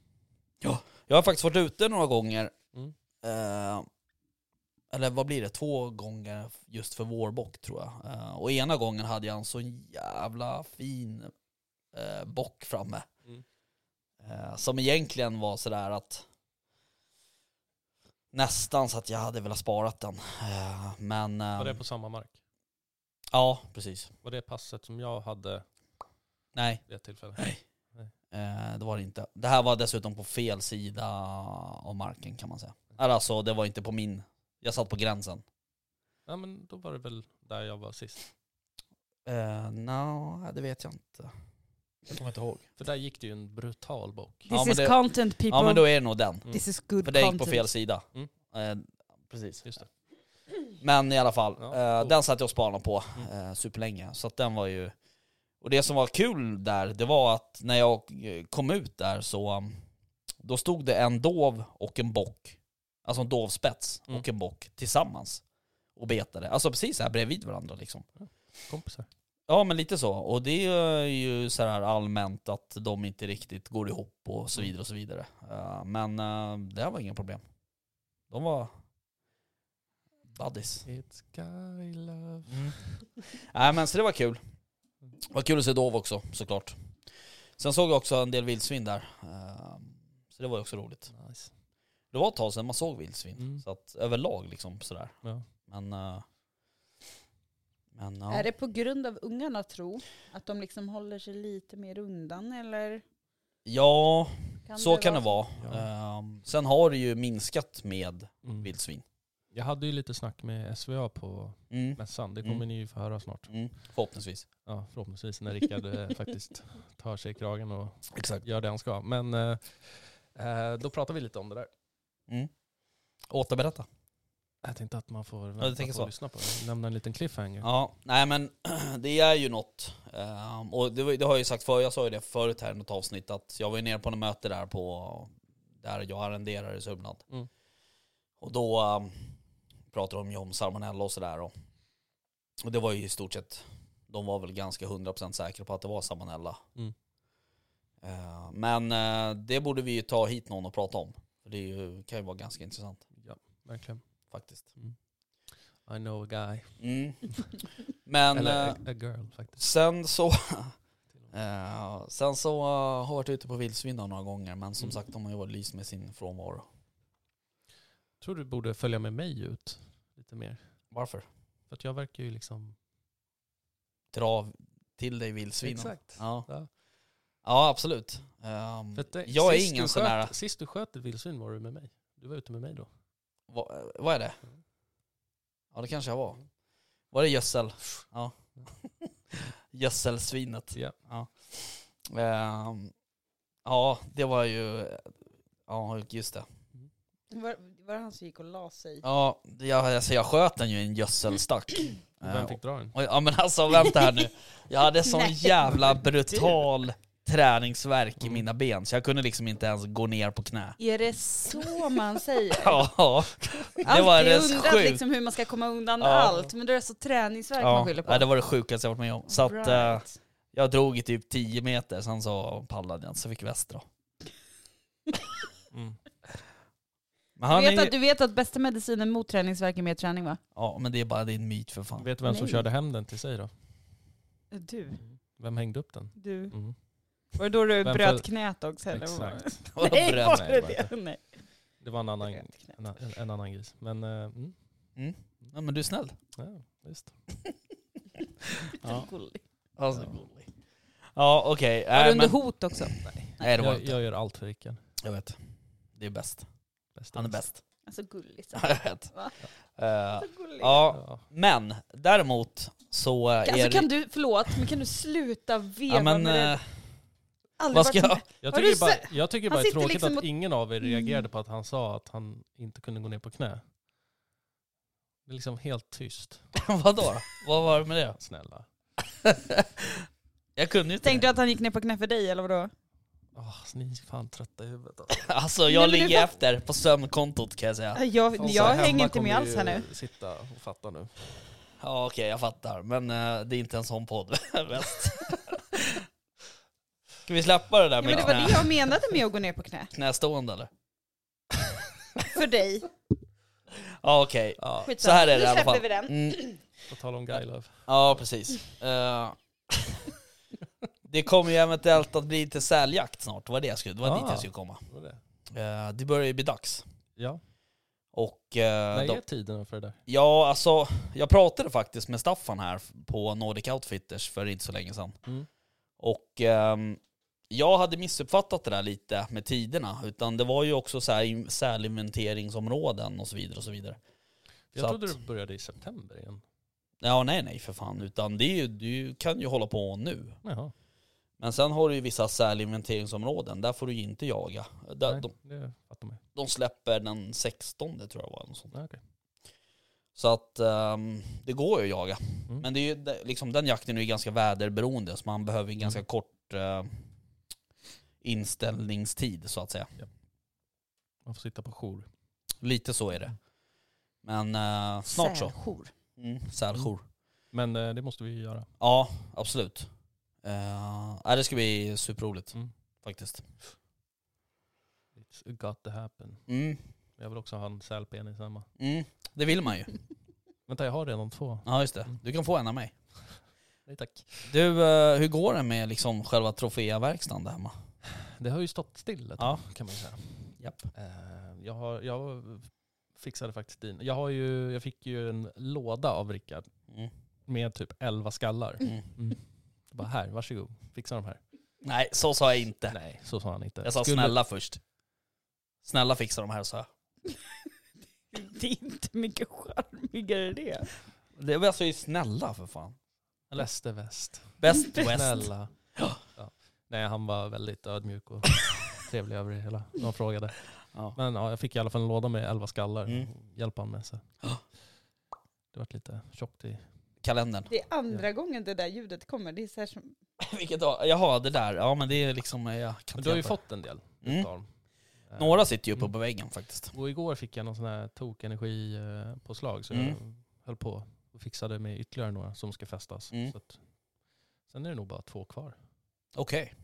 Speaker 5: Jag har faktiskt varit ute några gånger.
Speaker 7: Mm.
Speaker 5: Eh, eller vad blir det? Två gånger just för vårbock tror jag. Eh, och ena gången hade jag en så jävla fin eh, bock framme.
Speaker 7: Mm.
Speaker 5: Eh, som egentligen var sådär att nästan så att jag hade velat sparat den. Eh, men eh,
Speaker 7: Var det på samma mark?
Speaker 5: ja, precis.
Speaker 7: Var det passet som jag hade
Speaker 5: Nej,
Speaker 7: vid ett tillfälle?
Speaker 5: eh, det var det inte. Det här var dessutom på fel sida av marken kan man säga. Eller Alltså det var inte på min. Jag satt på gränsen.
Speaker 7: Ja, men då var det väl där jag var sist.
Speaker 5: Uh, no, det vet jag inte. Jag kommer inte ihåg.
Speaker 7: För där gick det ju en brutal bok.
Speaker 5: Ja,
Speaker 6: This
Speaker 5: men
Speaker 6: is
Speaker 5: det-
Speaker 6: content people.
Speaker 5: Ja men då är det nog den.
Speaker 6: This is good
Speaker 5: För det gick
Speaker 6: content.
Speaker 5: på fel sida.
Speaker 7: Mm.
Speaker 5: Eh, precis.
Speaker 7: Just det.
Speaker 5: Men i alla fall,
Speaker 7: Ja,
Speaker 5: eh,
Speaker 7: cool. Mm.
Speaker 5: den satt jag och spanade på eh, superlänge. Så att den var ju... Och det som var kul där, det var att när jag eh, kom ut där så um, då stod det en dov och en bock, alltså en dovspets
Speaker 7: Mm.
Speaker 5: och en bock tillsammans och betade. Alltså precis här bredvid varandra liksom.
Speaker 7: Kompisar.
Speaker 5: Ja men lite så. Och det är ju så här allmänt att de inte riktigt går ihop och så vidare och så vidare. Eh, Men eh, det här var inga problem. De var buddies.
Speaker 7: It's guy love.
Speaker 5: Nej men så det var kul. Det var kul att se Dov också såklart. Sen såg jag också en del vildsvin där. Eh, Så det var ju också roligt.
Speaker 7: Nice.
Speaker 5: Det var ett tag sedan man såg vildsvin.
Speaker 7: Mm.
Speaker 5: Så att överlag liksom sådär.
Speaker 7: Ja.
Speaker 5: Men... eh, Men ja.
Speaker 6: Är det på grund av ungarna tro? Att de liksom håller sig lite mer undan eller?
Speaker 5: Ja, så
Speaker 6: det
Speaker 5: kan det vara.
Speaker 7: Ja.
Speaker 5: Ehm, sen har det ju minskat med
Speaker 7: Mm.
Speaker 5: vildsvin.
Speaker 7: Jag hade ju lite snack med SVA på
Speaker 5: Mm.
Speaker 7: mässan. Det kommer
Speaker 5: Mm.
Speaker 7: ni ju få höra snart.
Speaker 5: Mm. Förhoppningsvis.
Speaker 7: Ja, förhoppningsvis när Rickard eh, (laughs) faktiskt tar sig i kragen och
Speaker 5: Exakt.
Speaker 7: gör det han ska. Men eh, eh, då pratar vi lite om det där.
Speaker 5: Återberätta.
Speaker 7: Jag tänkte att man får
Speaker 5: du
Speaker 7: vänta
Speaker 5: tänker
Speaker 7: på
Speaker 5: så.
Speaker 7: att lyssna på det. Lämna en liten cliffhanger.
Speaker 5: Ja, nej men (clears throat) det är ju något. Ehm, och det, var- det har jag ju sagt förr, jag sa ju det förut här i något avsnitt att jag var ju nere på något möte där på där jag arrenderar i Sörmland.
Speaker 7: Mm.
Speaker 5: Och då um, pratade de ju om salmonella och sådär. Och, och det var ju i stort sett, de var väl ganska 100% säkra på att det var salmonella.
Speaker 7: Mm.
Speaker 5: Eh, men eh, det borde vi ju ta hit någon och prata om. För det är ju, kan ju vara ganska intressant
Speaker 7: Ja, verkligen. Mm.
Speaker 5: faktiskt.
Speaker 7: I know a guy.
Speaker 5: Mm. Men...
Speaker 7: Eller
Speaker 5: eh,
Speaker 7: a, a girl faktiskt.
Speaker 5: Sen så, eh, sen så eh, har jag varit ute på vildsvin då några gånger men som
Speaker 7: Mm.
Speaker 5: sagt de har ju varit lyst med sin frånvaro.
Speaker 7: Tror du borde följa med mig ut lite mer?
Speaker 5: Varför?
Speaker 7: För att jag verkar ju liksom...
Speaker 5: Dra till dig vildsvinen. Ja.
Speaker 7: Ja.
Speaker 5: ja, absolut. Ehm,
Speaker 7: För att, eh,
Speaker 5: jag är
Speaker 7: sist
Speaker 5: ingen
Speaker 7: du
Speaker 5: sån
Speaker 7: sköt-
Speaker 5: här,
Speaker 7: Sist du sköt ett vildsvin var du med mig. Du var ute med mig då.
Speaker 5: vad, eh, vad är det?
Speaker 7: Mm.
Speaker 5: Ja det kanske jag var. Var det gödsel?
Speaker 7: (laughs)
Speaker 5: Ja. Gödselsvinet.
Speaker 7: Ja.
Speaker 5: Ehm, Ja, det var ju... Ja, just det.
Speaker 6: Var, var det han som gick och la sig?
Speaker 5: Ja, jag, alltså jag sköt den ju i en gödselstack. Eh,
Speaker 7: Vem fick dra den?
Speaker 5: och- Ja men alltså vänta här nu. Jag
Speaker 6: (laughs)
Speaker 5: hade sån
Speaker 6: Nej.
Speaker 5: jävla brutal träningsverk i
Speaker 7: Mm.
Speaker 5: mina ben så jag kunde liksom inte ens gå ner på
Speaker 6: (laughs)
Speaker 5: knä.
Speaker 6: Är det så
Speaker 5: (laughs)
Speaker 6: man säger?
Speaker 5: Ja, det
Speaker 6: Alltid
Speaker 5: var det
Speaker 6: undrat
Speaker 5: sjukt.
Speaker 6: liksom hur man ska komma undan
Speaker 5: Ja.
Speaker 6: allt, men då är det så träningsvärk man
Speaker 5: Ja,
Speaker 6: skyller på.
Speaker 5: nej, det var det sjukaste jag varit med om. Så att, eh,
Speaker 6: Right.
Speaker 5: jag drog i typ 10 meter, sen så pallade jag inte, så fick väst dra.
Speaker 7: Mm.
Speaker 5: Men han
Speaker 6: du, vet
Speaker 5: är
Speaker 6: att,
Speaker 5: ju...
Speaker 6: du vet att bästa medicinen mot träningsvärk är mer träning va?
Speaker 5: Ja men det är bara din myt för fan. (laughs)
Speaker 7: Vet du vem som
Speaker 6: Nej.
Speaker 7: körde hem den till sig då?
Speaker 6: Du,
Speaker 7: Vem hängde upp den?
Speaker 6: du.
Speaker 7: Mm.
Speaker 6: Var det då du
Speaker 7: Vem
Speaker 6: bröt
Speaker 7: för-
Speaker 6: knät också? Eller? vad var det?
Speaker 7: Exakt.
Speaker 5: Jag
Speaker 6: Nej,
Speaker 5: bröt
Speaker 6: var
Speaker 7: mig,
Speaker 6: det
Speaker 7: var
Speaker 6: det? Nej.
Speaker 7: Det var en annan, en,
Speaker 6: Bröt knät.
Speaker 7: en, en annan gris. Men eh, mm.
Speaker 5: Ja, men du är snäll.
Speaker 7: ja, visst.
Speaker 5: Ja.
Speaker 6: Gullig.
Speaker 5: Alltså, ja okej.
Speaker 6: Var
Speaker 5: Nej,
Speaker 6: det under
Speaker 5: men-
Speaker 6: hot också? Nej.
Speaker 5: Nej det var
Speaker 7: Jag,
Speaker 5: inte.
Speaker 7: jag gör allt för Rickard.
Speaker 5: Jag vet. Det är bäst.
Speaker 7: Bäst
Speaker 5: Han är
Speaker 7: av oss.
Speaker 5: bäst.
Speaker 6: Alltså gulligt.
Speaker 5: Ja, jag vet.
Speaker 6: Va?
Speaker 5: Eh,
Speaker 6: Så gulligt.
Speaker 5: ja,
Speaker 7: Ja.
Speaker 5: men däremot så eh, är
Speaker 6: Alltså
Speaker 5: det...
Speaker 6: kan du, förlåt, men kan du sluta veva
Speaker 5: ja, men,
Speaker 6: med det?
Speaker 5: eh,
Speaker 6: Aldrig
Speaker 5: vad ska
Speaker 6: varit
Speaker 5: jag...
Speaker 6: med-
Speaker 7: Jag
Speaker 6: Har
Speaker 7: tycker
Speaker 6: du
Speaker 7: bara,
Speaker 6: sett-
Speaker 7: jag tycker
Speaker 6: Han
Speaker 7: bara det är
Speaker 6: sitter
Speaker 7: tråkigt
Speaker 6: liksom
Speaker 7: att
Speaker 6: och-
Speaker 7: ingen av er reagerade på att han sa att han inte kunde gå ner på knä. Det är liksom helt tyst.
Speaker 5: eh, (laughs) Vadå? Vad var det med
Speaker 6: (laughs)
Speaker 5: det?
Speaker 7: Snälla.
Speaker 5: Jag kunde ju inte
Speaker 6: Tänkte
Speaker 5: det.
Speaker 6: du att han gick ner på knä för dig eller vadå?
Speaker 7: Åh, ni är fan trötta i huvudet.
Speaker 5: Alltså
Speaker 6: Nej,
Speaker 5: jag
Speaker 6: men du
Speaker 5: ligger
Speaker 6: fatt-
Speaker 5: efter på sömnkontot kan jag säga.
Speaker 6: Jag, jag hänger inte med alls här nu.
Speaker 7: Sitta och fatta nu.
Speaker 5: Ja okej jag fattar, men eh, det är inte en sån podd. (laughs)
Speaker 6: (laughs)
Speaker 5: Bäst. Ska vi släppa det där
Speaker 6: Ja,
Speaker 5: med
Speaker 6: men det var
Speaker 5: knä,
Speaker 6: det jag menade med att gå ner på knä.
Speaker 5: knästående eller? (laughs)
Speaker 6: För dig.
Speaker 5: Ja okej,
Speaker 7: Ja,
Speaker 5: så här är det
Speaker 6: nu
Speaker 5: i alla
Speaker 6: släpper
Speaker 5: fall.
Speaker 6: vi den.
Speaker 5: Mm.
Speaker 7: på tal om guy love.
Speaker 5: Ja, precis.
Speaker 6: (laughs)
Speaker 5: Eh, det kommer ju eventuellt att bli lite säljakt snart, det var det jag skulle, det var
Speaker 7: Ah.
Speaker 5: dit jag skulle komma.
Speaker 7: Vad var det?
Speaker 5: Eh, det börjar ju bli dags.
Speaker 7: Ja,
Speaker 5: Och eh,
Speaker 7: vad är
Speaker 5: Äh, då,
Speaker 7: tiden för det där?
Speaker 5: ja, alltså, jag pratade faktiskt med Staffan här på Nordic Outfitters för inte så länge sedan.
Speaker 7: Mm.
Speaker 5: Och ehm, jag hade missuppfattat det där lite med tiderna, utan det var ju också så här in- sälinventeringsområden och så vidare och så vidare.
Speaker 7: Jag
Speaker 5: Så
Speaker 7: trodde
Speaker 5: att-
Speaker 7: det började i september igen.
Speaker 5: Ja, nej, nej för fan, utan det är ju, du kan ju hålla på nu.
Speaker 7: Jaha,
Speaker 5: Men sen har du ju vissa sälinventeringsområden, där får du ju inte jaga. Där,
Speaker 7: nej,
Speaker 5: de,
Speaker 7: det fattar man
Speaker 5: de släpper den 16 tror jag var. Något sånt.
Speaker 7: ju. Ja, okej.
Speaker 5: Så att ehm, det går ju att jaga.
Speaker 7: Mm.
Speaker 5: Men det är ju, det- liksom, den jakten är ju ganska väderberoende så man behöver ju
Speaker 7: Mm.
Speaker 5: ganska kort eh, inställningstid så att säga.
Speaker 7: Man får sitta på jour.
Speaker 5: Lite så är det. Men eh, snart så.
Speaker 6: Säljour.
Speaker 5: Mm, Säljour.
Speaker 7: Men eh, det måste vi ju göra.
Speaker 5: Ja, absolut. Uh, det ska bli superroligt
Speaker 7: Mm.
Speaker 5: faktiskt.
Speaker 7: It's got to happen.
Speaker 5: Mm,
Speaker 7: Jag vill också ha en sälpenis hemma.
Speaker 5: mm, det vill man ju.
Speaker 7: Vänta, jag har redan två.
Speaker 5: Ja just det, du kan få en av mig.
Speaker 7: Mm. Nej tack.
Speaker 5: Du, eh, hur går det med liksom själva troféverkstaden där hemma?
Speaker 7: Det har ju stått still ett
Speaker 5: Ja.
Speaker 7: tag, kan man ju säga.
Speaker 5: Japp.
Speaker 7: Eh, Jag, har, jag fixade faktiskt din. Jag, har ju, jag fick ju en låda av Rickard
Speaker 5: Mm.
Speaker 7: med typ 11 skallar.
Speaker 5: Mm.
Speaker 7: Jag Bara här, varsågod, fixa de här.
Speaker 5: Nej, så sa jag inte.
Speaker 7: Nej, så sa han inte.
Speaker 5: Jag sa
Speaker 7: Skulle-
Speaker 5: snälla först. Snälla fixa de här sa jag.
Speaker 6: (laughs) Det är inte mycket charmigare än det.
Speaker 5: Det var alltså ju snälla för fan.
Speaker 7: Lester West.
Speaker 6: (laughs)
Speaker 5: Best West.
Speaker 7: Snälla. Ja. Nej, han var väldigt
Speaker 5: (laughs)
Speaker 7: ödmjuk och trevlig över det hela. De frågade.
Speaker 5: Ja.
Speaker 7: Men ja, jag fick i alla fall en låda med 11 skallar.
Speaker 5: Mm.
Speaker 7: Hjälpa han med så.
Speaker 5: Ja.
Speaker 7: Det vart lite tjockt i...
Speaker 5: Kalendern.
Speaker 6: Det är andra gången det där ljudet kommer. Det är så här som...
Speaker 5: (laughs) Vilket dag? Jaha, det där. Ja men det är liksom, jag kan
Speaker 7: Men
Speaker 5: inte
Speaker 7: du har ju
Speaker 5: hjälpa
Speaker 7: fått en del
Speaker 5: det. mm.
Speaker 7: utav dem. Eh,
Speaker 5: Några sitter ju
Speaker 6: Mm.
Speaker 5: uppe på väggen faktiskt.
Speaker 7: Och igår fick jag någon sån här tokenergipåslag så jag
Speaker 5: Mm.
Speaker 7: höll på och fixade med ytterligare några som ska fästas.
Speaker 5: Mm.
Speaker 7: Så att, sen är det nog bara två kvar.
Speaker 5: Okej.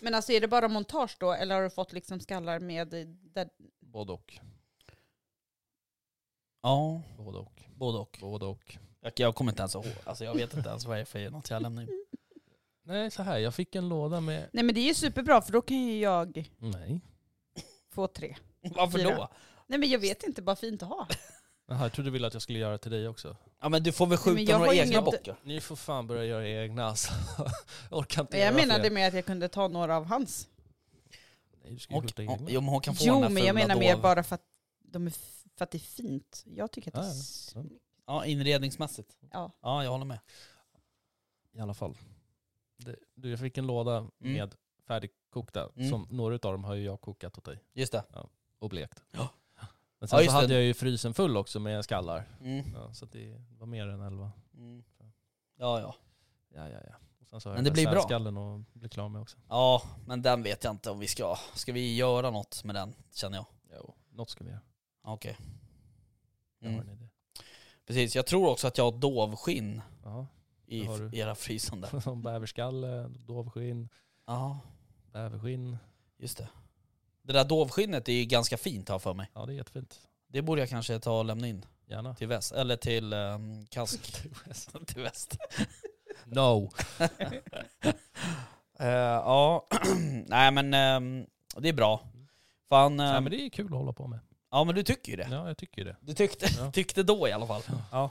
Speaker 6: Men alltså är det bara montage då eller har du fått liksom skallar med där...
Speaker 7: Både och.
Speaker 5: Ja,
Speaker 7: Både och.
Speaker 5: både och.
Speaker 7: Både och.
Speaker 5: Jag, jag kommer inte ens ihåg. Alltså jag vet inte ens vad det är för något jag lämnar in.
Speaker 7: Nej, så här. Jag fick en låda med...
Speaker 6: Nej men det är ju superbra för då kan ju jag
Speaker 7: Nej.
Speaker 6: få tre.
Speaker 5: Varför då?
Speaker 6: Mm. Fyra. Nej men jag vet inte, bara fint
Speaker 5: (laughs)
Speaker 6: att ha.
Speaker 7: Jaha, jag trodde du ville att jag skulle göra till dig också.
Speaker 5: Ja men du får väl
Speaker 6: men
Speaker 5: skjuta
Speaker 6: jag
Speaker 5: några
Speaker 6: har ju
Speaker 5: egna
Speaker 6: inte-
Speaker 5: bockar.
Speaker 7: Ni får fan börja göra egna alltså. (laughs) Jag orkar inte
Speaker 6: Men jag
Speaker 7: göra
Speaker 6: menade
Speaker 7: fler.
Speaker 6: med att jag kunde ta några av hans.
Speaker 7: Nej, du ska ju
Speaker 5: Och,
Speaker 7: skjuta
Speaker 5: och,
Speaker 7: egna.
Speaker 5: jo men hon kan få
Speaker 6: Jo
Speaker 5: den där
Speaker 6: men jag
Speaker 5: fula
Speaker 6: menar mer
Speaker 5: doven.
Speaker 6: bara för att, de är f- för att det är fint. Jag tycker att det
Speaker 7: Ja,
Speaker 6: är
Speaker 7: ja.
Speaker 6: snyggt.
Speaker 5: Ja, inredningsmässigt.
Speaker 6: Ja.
Speaker 5: Ja, jag håller med.
Speaker 7: I alla fall. Det, du, jag fick en låda med färdigkokta,
Speaker 5: Mm.
Speaker 7: som några av dem har ju jag kokat åt dig
Speaker 5: Just det.
Speaker 7: och blekt.
Speaker 5: Ja. Ja,
Speaker 7: Men sen så
Speaker 5: just
Speaker 7: hade
Speaker 5: det.
Speaker 7: jag ju frysen full också med skallar.
Speaker 5: Mm.
Speaker 7: Ja, så att det var mer än elva.
Speaker 5: Mm. Ja, ja.
Speaker 7: Ja, ja, ja. Och sen så har
Speaker 5: Men
Speaker 7: jag
Speaker 5: det blir bra.
Speaker 7: skallen och blir klar med också.
Speaker 5: Ja, men den vet jag inte om vi ska... Ska vi göra något med den, känner jag?
Speaker 7: Jo. Något ska vi göra.
Speaker 5: Okej.
Speaker 7: Jag har
Speaker 5: Mm.
Speaker 7: en idé.
Speaker 5: Precis, jag tror också att jag har dovskinn
Speaker 7: Ja, (laughs)
Speaker 5: i
Speaker 7: Det har du.
Speaker 5: i era frysen
Speaker 7: (laughs)
Speaker 5: där.
Speaker 7: som bäverskalle, dovskinn,
Speaker 5: Ja,
Speaker 7: bäverskinn.
Speaker 5: just det. Det där dovskinnet är ju ganska fint här för mig.
Speaker 7: Ja, det är jättefint.
Speaker 5: Det borde jag kanske ta och lämna in
Speaker 7: Gärna.
Speaker 5: till väst, eller till um,
Speaker 7: (laughs)
Speaker 5: kask. (laughs) till väst.
Speaker 7: No!
Speaker 5: Eh, ja, (clears throat) nej men ehm, det är bra. Fan,
Speaker 7: Nej,
Speaker 5: ehm,
Speaker 7: men det är kul att hålla på med.
Speaker 5: ja men du tycker ju det.
Speaker 7: Um, Ja, jag tycker ju det.
Speaker 5: Du tyckte, (laughs)
Speaker 7: Ja.
Speaker 5: tyckte då i alla fall. Ja.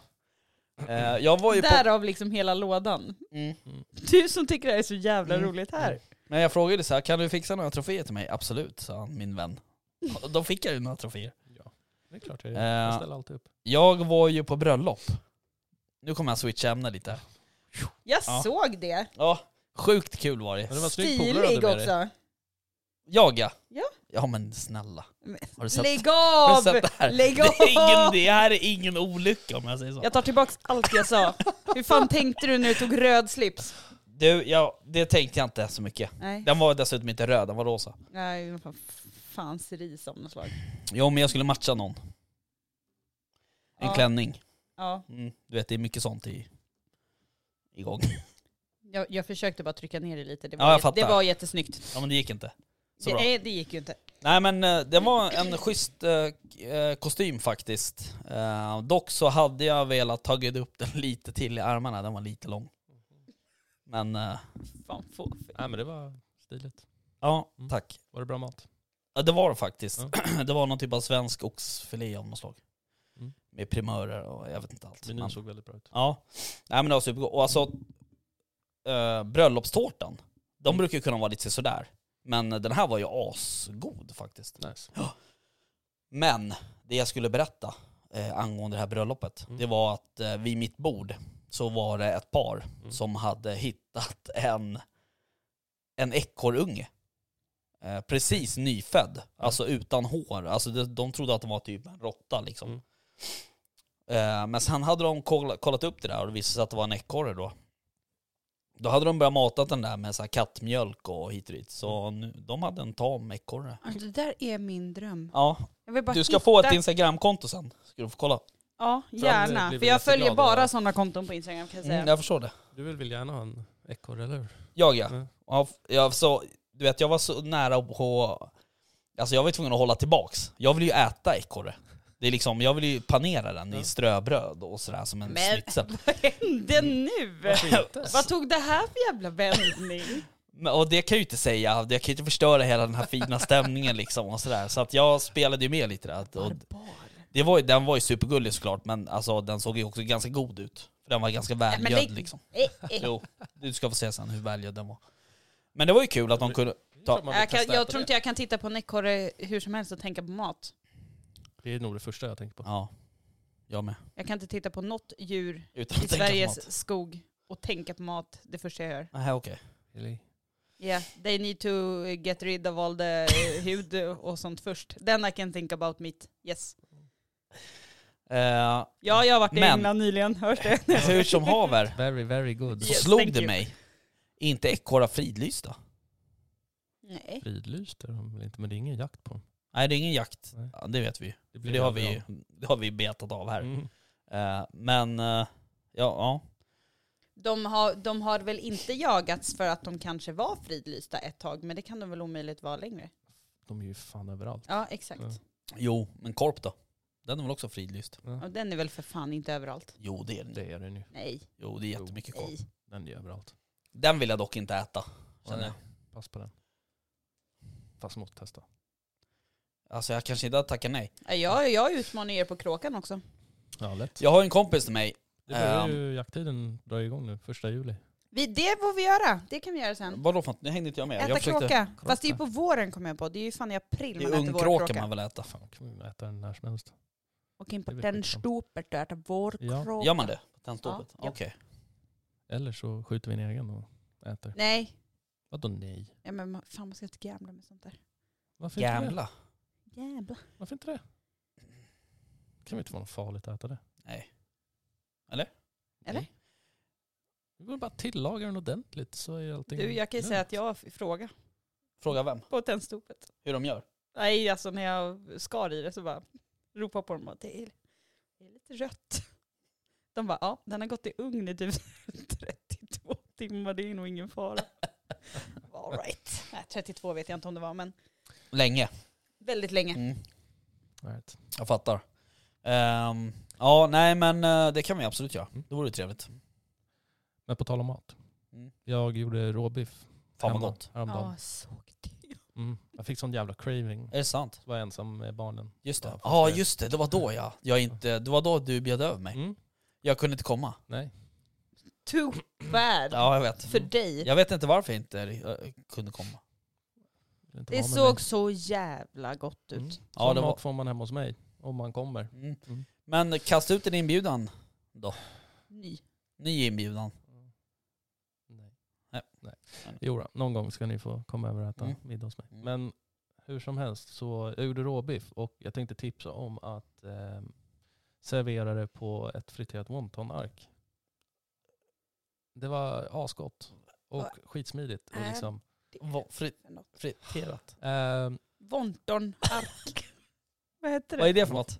Speaker 5: Eh, jag var ju på...
Speaker 6: Därav liksom hela lådan.
Speaker 5: Mm.
Speaker 6: Du som tycker det här är så jävla
Speaker 5: Mm.
Speaker 6: roligt här.
Speaker 5: Men jag frågade så här, kan du fixa några troféer till mig? Absolut, sa han, min vän. Och Då fick jag ju några troféer.
Speaker 7: Det är klart jag gör. Jag
Speaker 5: Eh.
Speaker 7: ställer alltid upp.
Speaker 5: Jag var ju på bröllop. Nu kommer jag switcha ämne lite.
Speaker 6: Jag
Speaker 5: Ja.
Speaker 6: såg det.
Speaker 5: Ja, sjukt kul var det.
Speaker 7: Men det var en snygg polare du
Speaker 6: Stilig
Speaker 7: hade med dig.
Speaker 6: också.
Speaker 5: Jag ja.
Speaker 6: Ja.
Speaker 5: Ja men snälla.
Speaker 6: Men-
Speaker 5: Har du sett, (laughs)
Speaker 6: Lägg
Speaker 5: har du
Speaker 6: av!
Speaker 5: sett det här?
Speaker 6: Lägg
Speaker 5: Det, är ingen,
Speaker 6: av!
Speaker 5: det här är ingen olycka om jag säger så.
Speaker 6: Jag tar tillbaka allt jag sa. Hur fan tänkte du när du tog röd slips?
Speaker 5: Du, ja, det tänkte jag inte så mycket.
Speaker 6: Nej,
Speaker 5: Den var dessutom inte röd, den var rosa.
Speaker 6: Nej fan, fan cerise av något slag.
Speaker 5: Jo men jag skulle matcha någon. En
Speaker 6: Ja.
Speaker 5: klänning.
Speaker 6: Ja,
Speaker 5: Mm, du vet det är mycket sånt i, igång.
Speaker 6: jag, jag försökte bara trycka ner det lite. Det
Speaker 5: Ja, jag
Speaker 6: var, jät-
Speaker 5: fattar.
Speaker 6: det var jättesnyggt.
Speaker 5: Ja men det gick inte. Så
Speaker 6: Det,
Speaker 5: bra.
Speaker 6: nej, det gick ju inte.
Speaker 5: Nej men eh, det var en schysst eh, k- eh, kostym faktiskt. Eh, dock så hade jag velat tagit upp den (laughs) lite till i armarna, den var lite lång. Men eh,
Speaker 6: Fan, få.
Speaker 7: Nej, men det var stiligt.
Speaker 5: ja,
Speaker 7: Mm.
Speaker 5: tack.
Speaker 7: Var det bra mat?
Speaker 5: Ja, det var det faktiskt. (clears throat) det var någon typ av svensk oxfilé av något slag.
Speaker 7: Mm.
Speaker 5: Med primörer och jag vet inte allt.
Speaker 7: Menyn
Speaker 5: Men-
Speaker 7: såg väldigt bra ut.
Speaker 5: Ja, nej men det var supergott. Och alltså, eh, bröllopstårtan, de brukar ju kunna vara lite sådär. Men den här var ju asgod faktiskt.
Speaker 7: Nice.
Speaker 5: Men det jag skulle berätta eh, angående det här bröllopet,
Speaker 7: Mm.
Speaker 5: det var att eh, vid mitt bord så var det ett par
Speaker 7: Mm.
Speaker 5: som hade hittat (laughs) en, en ekorrunge. Eh, precis nyfödd,
Speaker 7: Mm.
Speaker 5: alltså utan hår. Alltså de, de trodde att de var typ en råtta liksom.
Speaker 7: Mm.
Speaker 5: Eh, men sen hade de kolla, kollat upp det där och det visade sig att det var en ekorre då. Då hade de börjat mata den där med så här kattmjölk och hit och dit. Så
Speaker 7: Mm.
Speaker 5: nu, de hade en tam ekorre.
Speaker 6: Det där är min dröm.
Speaker 5: Ja,
Speaker 6: Jag vill bara
Speaker 5: du ska få ett
Speaker 6: hitta-
Speaker 5: Instagramkonto sen, ska du få kolla.
Speaker 6: Ja,
Speaker 7: Sen, eh,
Speaker 6: gärna.
Speaker 7: blir
Speaker 6: För
Speaker 7: vi
Speaker 6: jag följer
Speaker 7: jätteglada.
Speaker 6: bara sådana konton på Instagram kan jag säga.
Speaker 5: Mm, jag förstår det.
Speaker 7: Du vill väl gärna ha en ekorre, eller hur?
Speaker 5: Jag ja.
Speaker 7: Mm.
Speaker 5: ja f- jag, så, du vet, jag var så nära på... Alltså jag var tvungen att hålla tillbaks. Jag vill ju äta ekorre. Det är liksom, jag vill ju panera den i ströbröd och sådär som en
Speaker 6: Men-
Speaker 5: schnitzel.
Speaker 6: Vad hände nu?
Speaker 7: inte?
Speaker 6: Vad tog det här för jävla vändning?
Speaker 5: Men, och det kan jag ju inte säga, jag kan ju inte förstöra hela den här fina stämningen liksom och sådär. Så att jag spelade ju med lite där. Och det var, ju- den var ju supergullig såklart, men alltså, den såg ju också ganska god ut. För den var ganska
Speaker 6: men
Speaker 5: välgödd
Speaker 6: det-
Speaker 5: liksom.
Speaker 6: Eh, eh.
Speaker 5: Jo, du ska få se sen hur välgödd den var. Men det var ju kul att de kunde... Ta,
Speaker 6: Jag, kan, jag tror inte jag kan titta på en ekorre hur som helst och tänka på mat.
Speaker 7: Det är nog det första jag tänker på.
Speaker 5: ja, jag med.
Speaker 6: Jag kan inte titta på något djur
Speaker 5: Utan att
Speaker 6: i
Speaker 5: tänka på mat.
Speaker 6: Sveriges skog och tänka på mat det första jag gör.
Speaker 5: Nej, okej.
Speaker 7: Eller-
Speaker 6: Yeah, they need to get rid of all the eh, hud och sånt först. Then I can think about meat. Yes.
Speaker 5: Eh,
Speaker 6: Ja, jag har varit i
Speaker 5: Men-
Speaker 6: England nyligen, hörs det?
Speaker 5: hur
Speaker 6: (laughs)
Speaker 5: som haver
Speaker 7: Very, very good.
Speaker 5: så
Speaker 6: Yes,
Speaker 5: slog
Speaker 6: thank
Speaker 5: det
Speaker 6: you.
Speaker 5: mig. Är inte ekorrar fridlysta?
Speaker 6: Nej.
Speaker 7: Fridlyst är de väl inte, men det är ingen jakt på dem.
Speaker 5: Nej, det är ingen jakt.
Speaker 7: Nej.
Speaker 5: Ja, det vet vi ju.
Speaker 7: Det,
Speaker 5: För
Speaker 7: blir
Speaker 5: det har vi
Speaker 7: aldrig
Speaker 5: ju det har vi betat av här.
Speaker 7: av. Mm.
Speaker 5: Eh, men, eh, ja, ja.
Speaker 6: De har, de har väl inte jagats för att de kanske var fridlysta ett tag, men det kan de väl omöjligt vara längre?
Speaker 7: De är ju fan överallt.
Speaker 6: Ja, exakt.
Speaker 7: Ja.
Speaker 5: Jo, men korp då? Den är väl också fridlyst?
Speaker 6: Och den är väl för fan inte överallt?
Speaker 5: Jo, det är den.
Speaker 7: Det är den ju.
Speaker 6: Nej,
Speaker 5: Jo, det är jättemycket korp.
Speaker 6: nej.
Speaker 7: Den är ju överallt.
Speaker 5: Den vill jag dock inte äta. Känner jag.
Speaker 7: Nej, Pass på den. Fast måste testa.
Speaker 5: Alltså jag kanske inte hade tackat nej.
Speaker 6: Ja, Jag, jag utmanar er på kråkan också.
Speaker 7: Ja, lätt. Ehm.
Speaker 5: Jag har en kompis till mig.
Speaker 7: Det börjar ju jakttiden dra igång nu, första juli.
Speaker 6: Vi, det får vi göra, det kan vi göra sen.
Speaker 5: Vadå för något? Nu hängde inte jag med.
Speaker 6: Äta
Speaker 5: jag
Speaker 6: kråka. Fast det är ju
Speaker 7: Kråka.
Speaker 6: på våren kommer jag på. Det är ju fan i april
Speaker 5: Det
Speaker 6: man
Speaker 5: är
Speaker 6: äter vårkråka.
Speaker 5: ungkråka man vill äta.
Speaker 7: Fan, kan man ju äta den när som helst.
Speaker 6: Och in på
Speaker 7: Det vet
Speaker 6: den
Speaker 7: jag inte om.
Speaker 6: stopet och äta vårkråka.
Speaker 5: Gör man det? Tändstoppet?
Speaker 6: Ja.
Speaker 5: Okej.
Speaker 7: Eller så skjuter vi en egen och äter.
Speaker 6: Nej,
Speaker 7: Vadå nej?
Speaker 6: Ja, men man- fan man ska inte gambla med sånt där.
Speaker 7: Varför inte det?
Speaker 5: Gamla.
Speaker 6: Gambla.
Speaker 7: Varför inte det? Det kan väl inte vara något farligt att äta det?
Speaker 5: Nej.
Speaker 7: Vi borde bara tillaga den ordentligt så är allting
Speaker 6: Du, jag kan ju
Speaker 7: lugnt.
Speaker 6: säga att jag f- frågade
Speaker 5: Fråga vem?
Speaker 6: på tändstopet.
Speaker 5: Hur de gör?
Speaker 6: Nej, alltså när jag skar i det så bara ropade på dem bara, det är, det är lite rött. (laughs) De bara, ja den har gått i ugn i typ (laughs) 32 timmar, det är nog ingen fara. (laughs) All right. Nej, 32 vet jag inte om det var, men
Speaker 5: Länge.
Speaker 6: väldigt länge.
Speaker 5: Mm.
Speaker 7: Right.
Speaker 5: Jag fattar. Ehm, ja, nej men eh, det kan vi absolut göra.
Speaker 7: Mm.
Speaker 5: Det vore trevligt.
Speaker 7: Men på tal om mat.
Speaker 5: Mm.
Speaker 7: Jag gjorde råbiff.
Speaker 5: Fan vad
Speaker 7: hemma
Speaker 5: gott.
Speaker 7: Häromdagen.
Speaker 6: såg det.
Speaker 7: Mm. Jag fick sån jävla craving.
Speaker 5: Är det sant?
Speaker 7: Så var jag ensam med barnen.
Speaker 5: Just det.
Speaker 7: Ja,
Speaker 5: Ja,
Speaker 7: fast det-
Speaker 5: just det. Det var då jag, jag inte, det var då du bjöd över mig.
Speaker 7: Mm.
Speaker 5: Jag kunde inte komma.
Speaker 7: Nej.
Speaker 6: Too bad
Speaker 5: Ja, jag vet.
Speaker 6: för dig.
Speaker 5: Jag vet inte varför jag inte eh, kunde komma.
Speaker 7: vill inte
Speaker 6: Det
Speaker 7: vara med
Speaker 6: såg
Speaker 7: mig.
Speaker 6: så jävla gott ut.
Speaker 7: Mm.
Speaker 5: Ja,
Speaker 7: Sån
Speaker 5: det var-
Speaker 7: mat får man hemma hos mig. Om man kommer.
Speaker 5: Mm.
Speaker 7: Mm.
Speaker 5: Men kasta ut en inbjudan.
Speaker 6: Ny.
Speaker 5: Ny inbjudan.
Speaker 7: Nej.
Speaker 5: Nej.
Speaker 7: Nej. Jo, då, någon gång ska ni få komma över och äta
Speaker 5: Mm.
Speaker 7: middag hos mig.
Speaker 5: Mm.
Speaker 7: Men hur som helst så jag gjorde råbiff och jag tänkte tipsa om att eh, servera det på ett friterat wontonark. Det var asgott och
Speaker 6: Vad
Speaker 7: skitsmidigt. Och
Speaker 5: Äh?
Speaker 6: är
Speaker 7: liksom,
Speaker 5: Va- fri-
Speaker 6: för något?
Speaker 5: Friterat.
Speaker 7: eh,
Speaker 6: Vonton
Speaker 5: (laughs)
Speaker 6: ark. Vad heter
Speaker 5: Vad
Speaker 6: det?
Speaker 5: är det för något?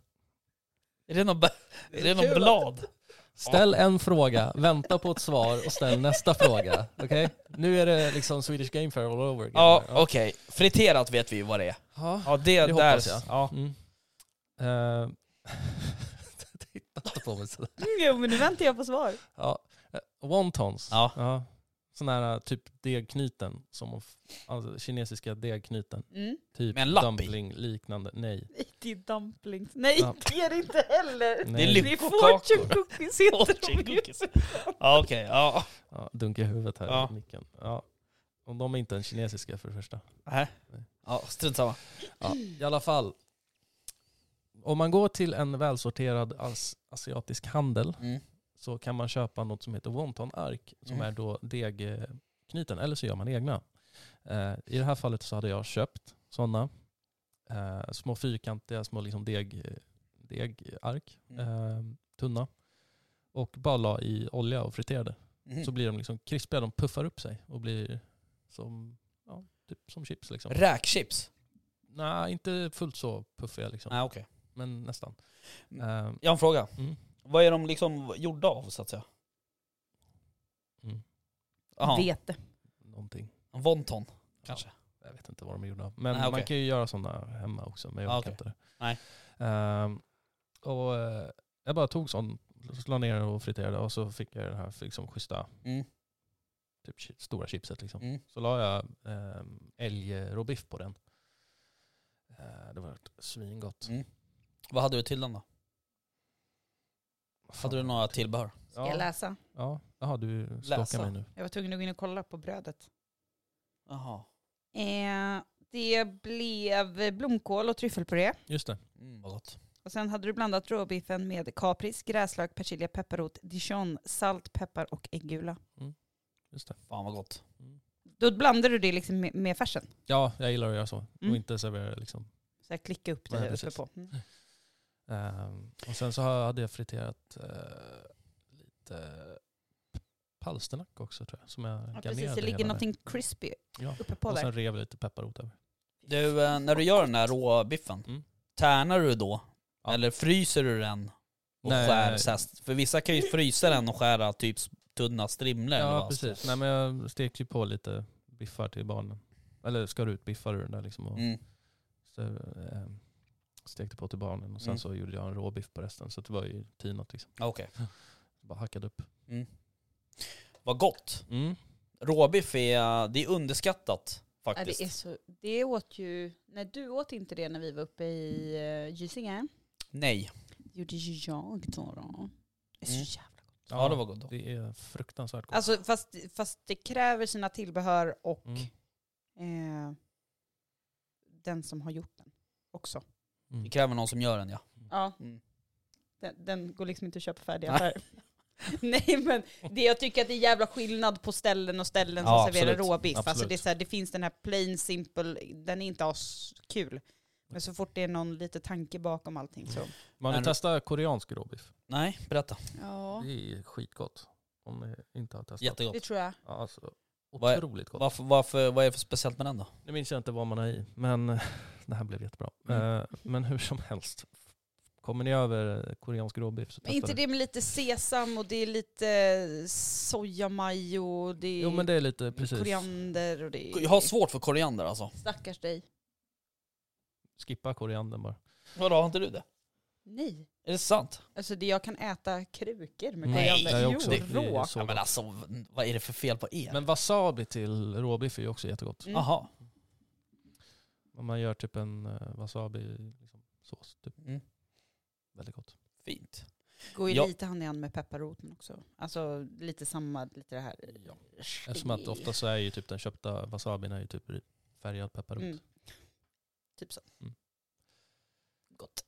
Speaker 5: Är det någon, bä- är det någon blad?
Speaker 7: ställ en fråga, vänta på ett svar och ställ nästa fråga. Okej? Nu är det liksom Swedish Game Fair all over again.
Speaker 5: Ja,
Speaker 7: Ja.
Speaker 5: okej. Friterat vet vi ju vad det är.
Speaker 7: Ja.
Speaker 5: Ja, det,
Speaker 7: Det
Speaker 5: där.
Speaker 7: hoppas jag.
Speaker 5: (laughs) Ja.
Speaker 7: Mm. Eh, (laughs) Titta inte på mig sådär.
Speaker 6: Mm, Jo men nu väntar jag på svar.
Speaker 7: Ja. eh, Wontons.
Speaker 5: Ja.
Speaker 7: Sådana här typ degknyten. Som, man f- alltså, kinesiska degknyten.
Speaker 6: Mm.
Speaker 7: Typ
Speaker 5: Med en lapp i?
Speaker 7: dumpling liknande. Nej.
Speaker 6: (laughs) Det är dumplings. Nej
Speaker 7: Ja.
Speaker 6: det är det inte heller.
Speaker 7: Nej.
Speaker 5: ly-
Speaker 6: Det är fortune cookies heter
Speaker 5: Fortune
Speaker 6: de ju.
Speaker 5: cookies. Ja, okej. Ja.
Speaker 7: Ja, dunka i huvudet här
Speaker 5: Ja.
Speaker 7: i micken. Ja. Och de är inte en kinesiska för det första.
Speaker 5: Nähä. Ja, strunt samma.
Speaker 7: Ja. I alla fall. Om man går till en välsorterad as- asiatisk handel
Speaker 5: Mm.
Speaker 7: så kan man köpa något som heter wonton-ark som
Speaker 5: Mm.
Speaker 7: är då degknuten eller så gör man egna. Eh, I det här fallet så hade jag köpt sådana eh, små fyrkantiga små liksom deg, degark,
Speaker 5: Mm.
Speaker 7: eh, tunna. Och bara la i olja och friterade.
Speaker 5: Mm.
Speaker 7: Så blir de liksom krispiga, de puffar upp sig och blir som, ja, typ som chips liksom.
Speaker 5: Räkchips?
Speaker 7: Nej, inte fullt så puffiga liksom,
Speaker 5: Nej, okej.
Speaker 7: men nästan.
Speaker 5: Mm.
Speaker 7: Eh,
Speaker 5: Jag har en fråga.
Speaker 7: Mm.
Speaker 5: Vad är de liksom gjorda av så att säga?
Speaker 7: Mm.
Speaker 5: Jaha,
Speaker 6: Vete.
Speaker 7: någonting.
Speaker 5: Wonton kanske?
Speaker 7: Jag vet inte vad de är gjorda av. Men
Speaker 5: Nej, okej.
Speaker 7: man kan ju göra sådana hemma också. Men jag
Speaker 5: Ah, okej.
Speaker 7: orkar inte det.
Speaker 5: Nej.
Speaker 7: Ehm, och, eh, jag bara tog sån, la ner och friterade och så fick jag det här liksom, schyssta
Speaker 5: Mm.
Speaker 7: typ, chi- stora chipset. Liksom.
Speaker 5: Mm.
Speaker 7: Så la jag um, älgrobiff på den. Eh, det var svingott.
Speaker 5: Mm. Vad hade du till den då?
Speaker 7: Fan.
Speaker 5: Hade du några tillbehör?
Speaker 6: Ska jag
Speaker 7: Ja,
Speaker 6: läsa?
Speaker 7: ja. Jaha, du
Speaker 5: Läsa.
Speaker 7: stalkar mig nu.
Speaker 6: Jag var tvungen att gå in och kolla på brödet.
Speaker 5: Jaha.
Speaker 6: Eh, det blev blomkål och tryffelpuré.
Speaker 7: Just det.
Speaker 5: Mm, vad gott.
Speaker 6: Och sen hade du blandat råbiffen med kapris, gräslök, persilja, pepparrot, dijon, salt, peppar och äggula.
Speaker 7: Just det.
Speaker 5: Fan vad gott.
Speaker 6: Då blandade du det liksom med, med färsen.
Speaker 7: Ja, jag gillar att göra så.
Speaker 6: Mm.
Speaker 7: Och inte servera det liksom.
Speaker 6: Så här klicka upp det
Speaker 7: Nej,
Speaker 6: uppe
Speaker 7: precis.
Speaker 6: på. Mm.
Speaker 7: Ehm, och sen så har- hade jag friterat eh, lite palsternack också tror jag. Som jag
Speaker 6: Ja,
Speaker 7: garnerade
Speaker 6: precis, det
Speaker 7: hela
Speaker 6: ligger
Speaker 7: med.
Speaker 6: någonting crispy
Speaker 7: ja.
Speaker 6: uppe på
Speaker 7: Och
Speaker 6: där.
Speaker 7: sen rev jag lite pepparrot över.
Speaker 5: Du, eh, när du gör den här råbiffen,
Speaker 7: Mm.
Speaker 5: tärnar du då?
Speaker 7: Ja.
Speaker 5: Eller fryser du den och
Speaker 7: Nej.
Speaker 5: skär säst? För vissa kan ju frysa den och skära typ tunna strimlor eller
Speaker 7: Ja
Speaker 5: vad.
Speaker 7: precis. Nej men jag stekte ju på lite biffar till barnen. Eller skar ut biffar ur den där liksom. Och
Speaker 5: Mm.
Speaker 7: så, ehm, stekte på till barnen. Och sen
Speaker 5: Mm.
Speaker 7: så gjorde jag en råbiff på resten. Så det var ju tinat liksom.
Speaker 5: Ja, Okej.
Speaker 7: Bara hackade upp.
Speaker 5: Vad gott.
Speaker 7: Mm.
Speaker 5: Råbiff är, det är underskattat
Speaker 6: Ja,
Speaker 5: faktiskt.
Speaker 6: det, är så, det åt ju, nej du åt inte det när vi var uppe i uh, Gysinge.
Speaker 5: Nej.
Speaker 6: Det gjorde ju jag då. då. Det är så
Speaker 5: Mm.
Speaker 6: jävla gott.
Speaker 5: Ja, det var gott.
Speaker 7: Det är fruktansvärt gott.
Speaker 6: Alltså fast, fast det kräver sina tillbehör och
Speaker 7: Mm.
Speaker 6: eh, den som har gjort den också.
Speaker 5: Det kräver någon som gör den ja.
Speaker 6: Ja.
Speaker 5: Mm.
Speaker 6: Den, den går liksom inte att köpa färdig
Speaker 5: Nej.
Speaker 6: affär. (laughs) Nej men det, jag tycker att det är jävla skillnad på ställen och ställen som
Speaker 5: Ja,
Speaker 6: serverar
Speaker 5: absolut.
Speaker 6: råbiff. Alltså
Speaker 5: Absolut.
Speaker 6: det, är så här, det finns den här plain simple, den är inte askul. Men så fort det är någon lite tanke bakom allting så.
Speaker 7: Man
Speaker 5: Är
Speaker 7: vill
Speaker 5: det-
Speaker 7: testa koreansk råbiff.
Speaker 5: Nej, berätta.
Speaker 6: Ja,
Speaker 7: Det är skitgott. Om ni inte har testat.
Speaker 5: Jättegott.
Speaker 6: det tror jag.
Speaker 7: Ja, Alltså,
Speaker 5: Vad är-
Speaker 7: otroligt gott.
Speaker 5: Varför, varför, vad är det för speciellt med den då?
Speaker 7: Nu minns jag inte vad man har i, men eh, (laughs) det här blev jättebra.
Speaker 5: Mm.
Speaker 7: Eh, Men hur som helst, kommer ni över eh, koreansk råbiff så
Speaker 6: Men
Speaker 7: testa
Speaker 6: inte
Speaker 7: det.
Speaker 6: det med lite sesam och det är lite sojamajo och det är
Speaker 7: Jo men det är lite, precis.
Speaker 6: koriander och det är...
Speaker 5: Jag har svårt för koriander alltså.
Speaker 6: Stackars dig.
Speaker 7: Skippa koriandern bara.
Speaker 5: Vadå, har inte du det?
Speaker 6: Nej.
Speaker 5: Är det sant?
Speaker 6: Alltså det, jag kan äta krukor med
Speaker 5: Nej,
Speaker 6: koriander.
Speaker 7: jag också.
Speaker 6: Jo,
Speaker 7: Det- det är
Speaker 6: rå.
Speaker 7: så
Speaker 5: Ja, men
Speaker 7: gott.
Speaker 5: alltså, v- vad är det för fel på er?
Speaker 7: Men wasabi till råbiff är ju också jättegott.
Speaker 6: Mm.
Speaker 5: Jaha.
Speaker 7: Om man gör typ en eh, wasabi liksom, sås, typ.
Speaker 5: Mm.
Speaker 7: väldigt gott.
Speaker 5: Fint.
Speaker 6: Går ju
Speaker 5: Ja.
Speaker 6: lite hand i hand med pepparroten också. Alltså lite samma, lite det här...
Speaker 7: Ja. Eftersom att ofta så är ju typ den köpta wasabin är ju typ färgad pepparrot.
Speaker 6: Mm. Typ så.
Speaker 7: Mm.
Speaker 6: Gott.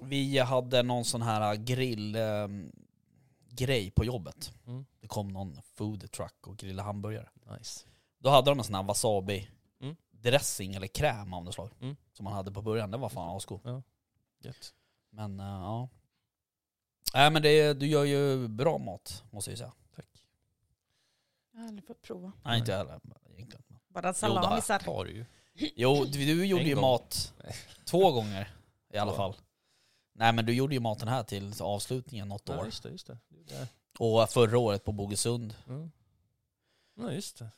Speaker 5: Vi hade någon sån här äh, grillgrej på jobbet.
Speaker 7: Mm.
Speaker 5: Det kom någon food truck och grillade hamburgare.
Speaker 7: Nice.
Speaker 5: Då hade de en sån här wasabi
Speaker 7: Mm.
Speaker 5: dressing eller kräm av något slag.
Speaker 7: Mm.
Speaker 5: Som man hade på början. Det var fan asgod.
Speaker 7: Gött.
Speaker 5: Men eh, ja. Nej men det, du gör ju bra mat måste jag ju säga.
Speaker 7: Tack.
Speaker 6: Jag har aldrig fått prova.
Speaker 7: Mm.
Speaker 5: Nej inte jag heller egentligen.
Speaker 6: Bara
Speaker 5: Jo, det
Speaker 6: salamisar.
Speaker 7: Tar du ju.
Speaker 5: Jo, du, du gjorde ju
Speaker 7: gång. (laughs)
Speaker 5: mat
Speaker 7: Nej.
Speaker 5: två gånger i alla
Speaker 7: Ja.
Speaker 5: fall. Nej men du gjorde ju maten här till avslutningen något
Speaker 7: Ja,
Speaker 5: år.
Speaker 7: just det, just det. Det är-
Speaker 5: Och förra året på Bogesund.
Speaker 7: Mm. Ja, just det.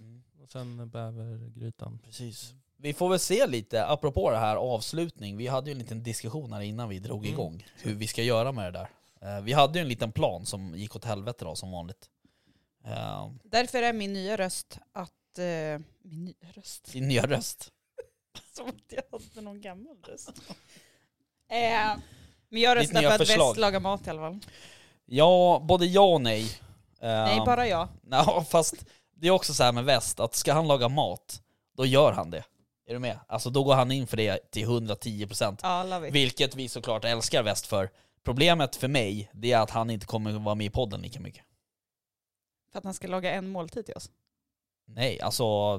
Speaker 7: Och sen bävergrytan.
Speaker 5: Precis. Mm. Vi får väl se lite, apropå det här avslutning, vi hade ju en liten diskussion här innan vi drog
Speaker 7: Mm.
Speaker 5: igång hur vi ska göra med det där. Eh, Vi hade ju en liten plan som gick åt helvete då som vanligt. Eh,
Speaker 6: Därför är min nya röst att... Eh, min nya röst?
Speaker 5: Din nya röst.
Speaker 6: Som att jag hade någon gammal röst. (laughs) eh, men
Speaker 5: Ditt
Speaker 6: jag röstar
Speaker 5: nya
Speaker 6: för att
Speaker 5: förslag.
Speaker 6: väst lagar mat i alla fall.
Speaker 5: Ja, både ja och nej.
Speaker 6: Nej,
Speaker 5: Ehm,
Speaker 6: bara jag.
Speaker 5: Ja, fast det är också så här med väst, att ska han laga mat, då gör han det. Är du med? Alltså då går han in för det till 110%.
Speaker 6: Ja, love it.
Speaker 5: Vilket vi såklart älskar väst för. Problemet för mig, det är att han inte kommer vara med i podden lika mycket.
Speaker 6: För att han ska laga en måltid till oss.
Speaker 5: Nej, alltså...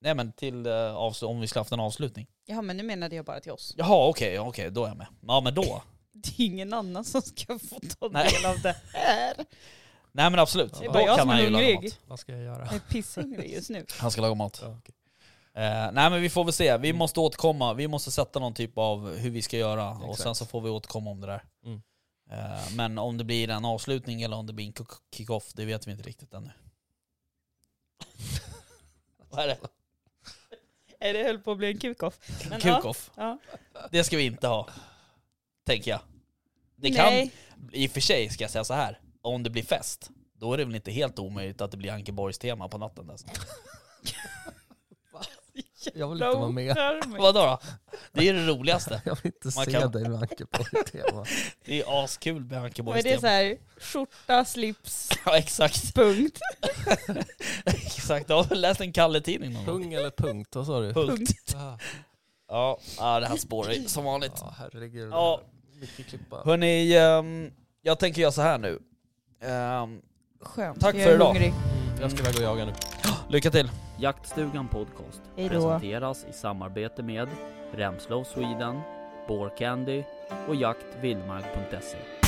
Speaker 5: Nej men till eh, avsl- om vi skulle haft en avslutning.
Speaker 6: Ja, men nu menade jag bara till oss. (laughs)
Speaker 5: Jaha okej, okej då är jag med. Ja men då.
Speaker 6: Det är ingen annan som ska få ta
Speaker 5: Nej.
Speaker 6: del av det här.
Speaker 5: Nej men absolut.
Speaker 7: Det är
Speaker 5: Då
Speaker 7: bara
Speaker 6: jag
Speaker 5: kan
Speaker 6: som
Speaker 5: han
Speaker 6: är
Speaker 5: ju laga
Speaker 6: hungrig.
Speaker 5: mat.
Speaker 7: Vad ska jag göra?
Speaker 6: Jag är pisshungrig just nu.
Speaker 5: Han ska laga mat.
Speaker 7: Ja, okej.
Speaker 5: Eh, nej men vi får väl se, vi måste återkomma, vi måste sätta någon typ av hur vi ska göra och
Speaker 7: Exakt.
Speaker 5: sen så får vi återkomma om det där.
Speaker 7: Mm.
Speaker 5: Eh, men om det blir en avslutning eller om det blir en kick- kick-off, det vet vi inte riktigt ännu. (laughs) Vad är det?
Speaker 6: (laughs) Är det höll på att bli en kukoff. Men ja.
Speaker 5: Kick-off?
Speaker 6: ja.
Speaker 5: Det ska vi inte ha, tänker jag. Det
Speaker 6: Nej.
Speaker 5: kan, i och för sig ska jag säga så här, om det blir fest, då är det väl inte helt omöjligt att det blir Ankeborgs tema på natten.
Speaker 6: (laughs)
Speaker 5: Alltså.
Speaker 7: (laughs) Jag vill inte vara med.
Speaker 5: Vadå då? Det är ju det roligaste.
Speaker 7: Jag vill inte
Speaker 5: Man
Speaker 7: se
Speaker 5: kan-
Speaker 7: dig med ankeborgstema. (laughs)
Speaker 5: Det är askul med
Speaker 6: Vad är
Speaker 5: Ankeborgs
Speaker 6: det så
Speaker 5: tema.
Speaker 6: här? Skjorta, slips,
Speaker 5: (laughs) Ja exakt.
Speaker 6: punkt.
Speaker 5: Exakt, jag har läst en Kalle-tidning någon gång.
Speaker 7: Pung eller punkt, vad sa du?
Speaker 5: Punkt.
Speaker 7: Ah,
Speaker 5: Ja, ja, det här spårar ju som vanligt.
Speaker 7: Ja, herregud.
Speaker 5: Ja.
Speaker 7: Mycket klippa.
Speaker 5: Hörni, ehm, jag tänker göra så här nu. Ehm,
Speaker 6: Skönt.
Speaker 5: Tack
Speaker 6: jag
Speaker 5: för
Speaker 6: är
Speaker 5: idag.
Speaker 6: Hungrig.
Speaker 7: Mm, Jag ska iväg och jaga nu.
Speaker 5: lycka till!
Speaker 4: Jaktstugan Podcast
Speaker 6: Hej då.
Speaker 4: presenteras i samarbete med Remslow Sweden, Bore Candy och jaktvildmark.se.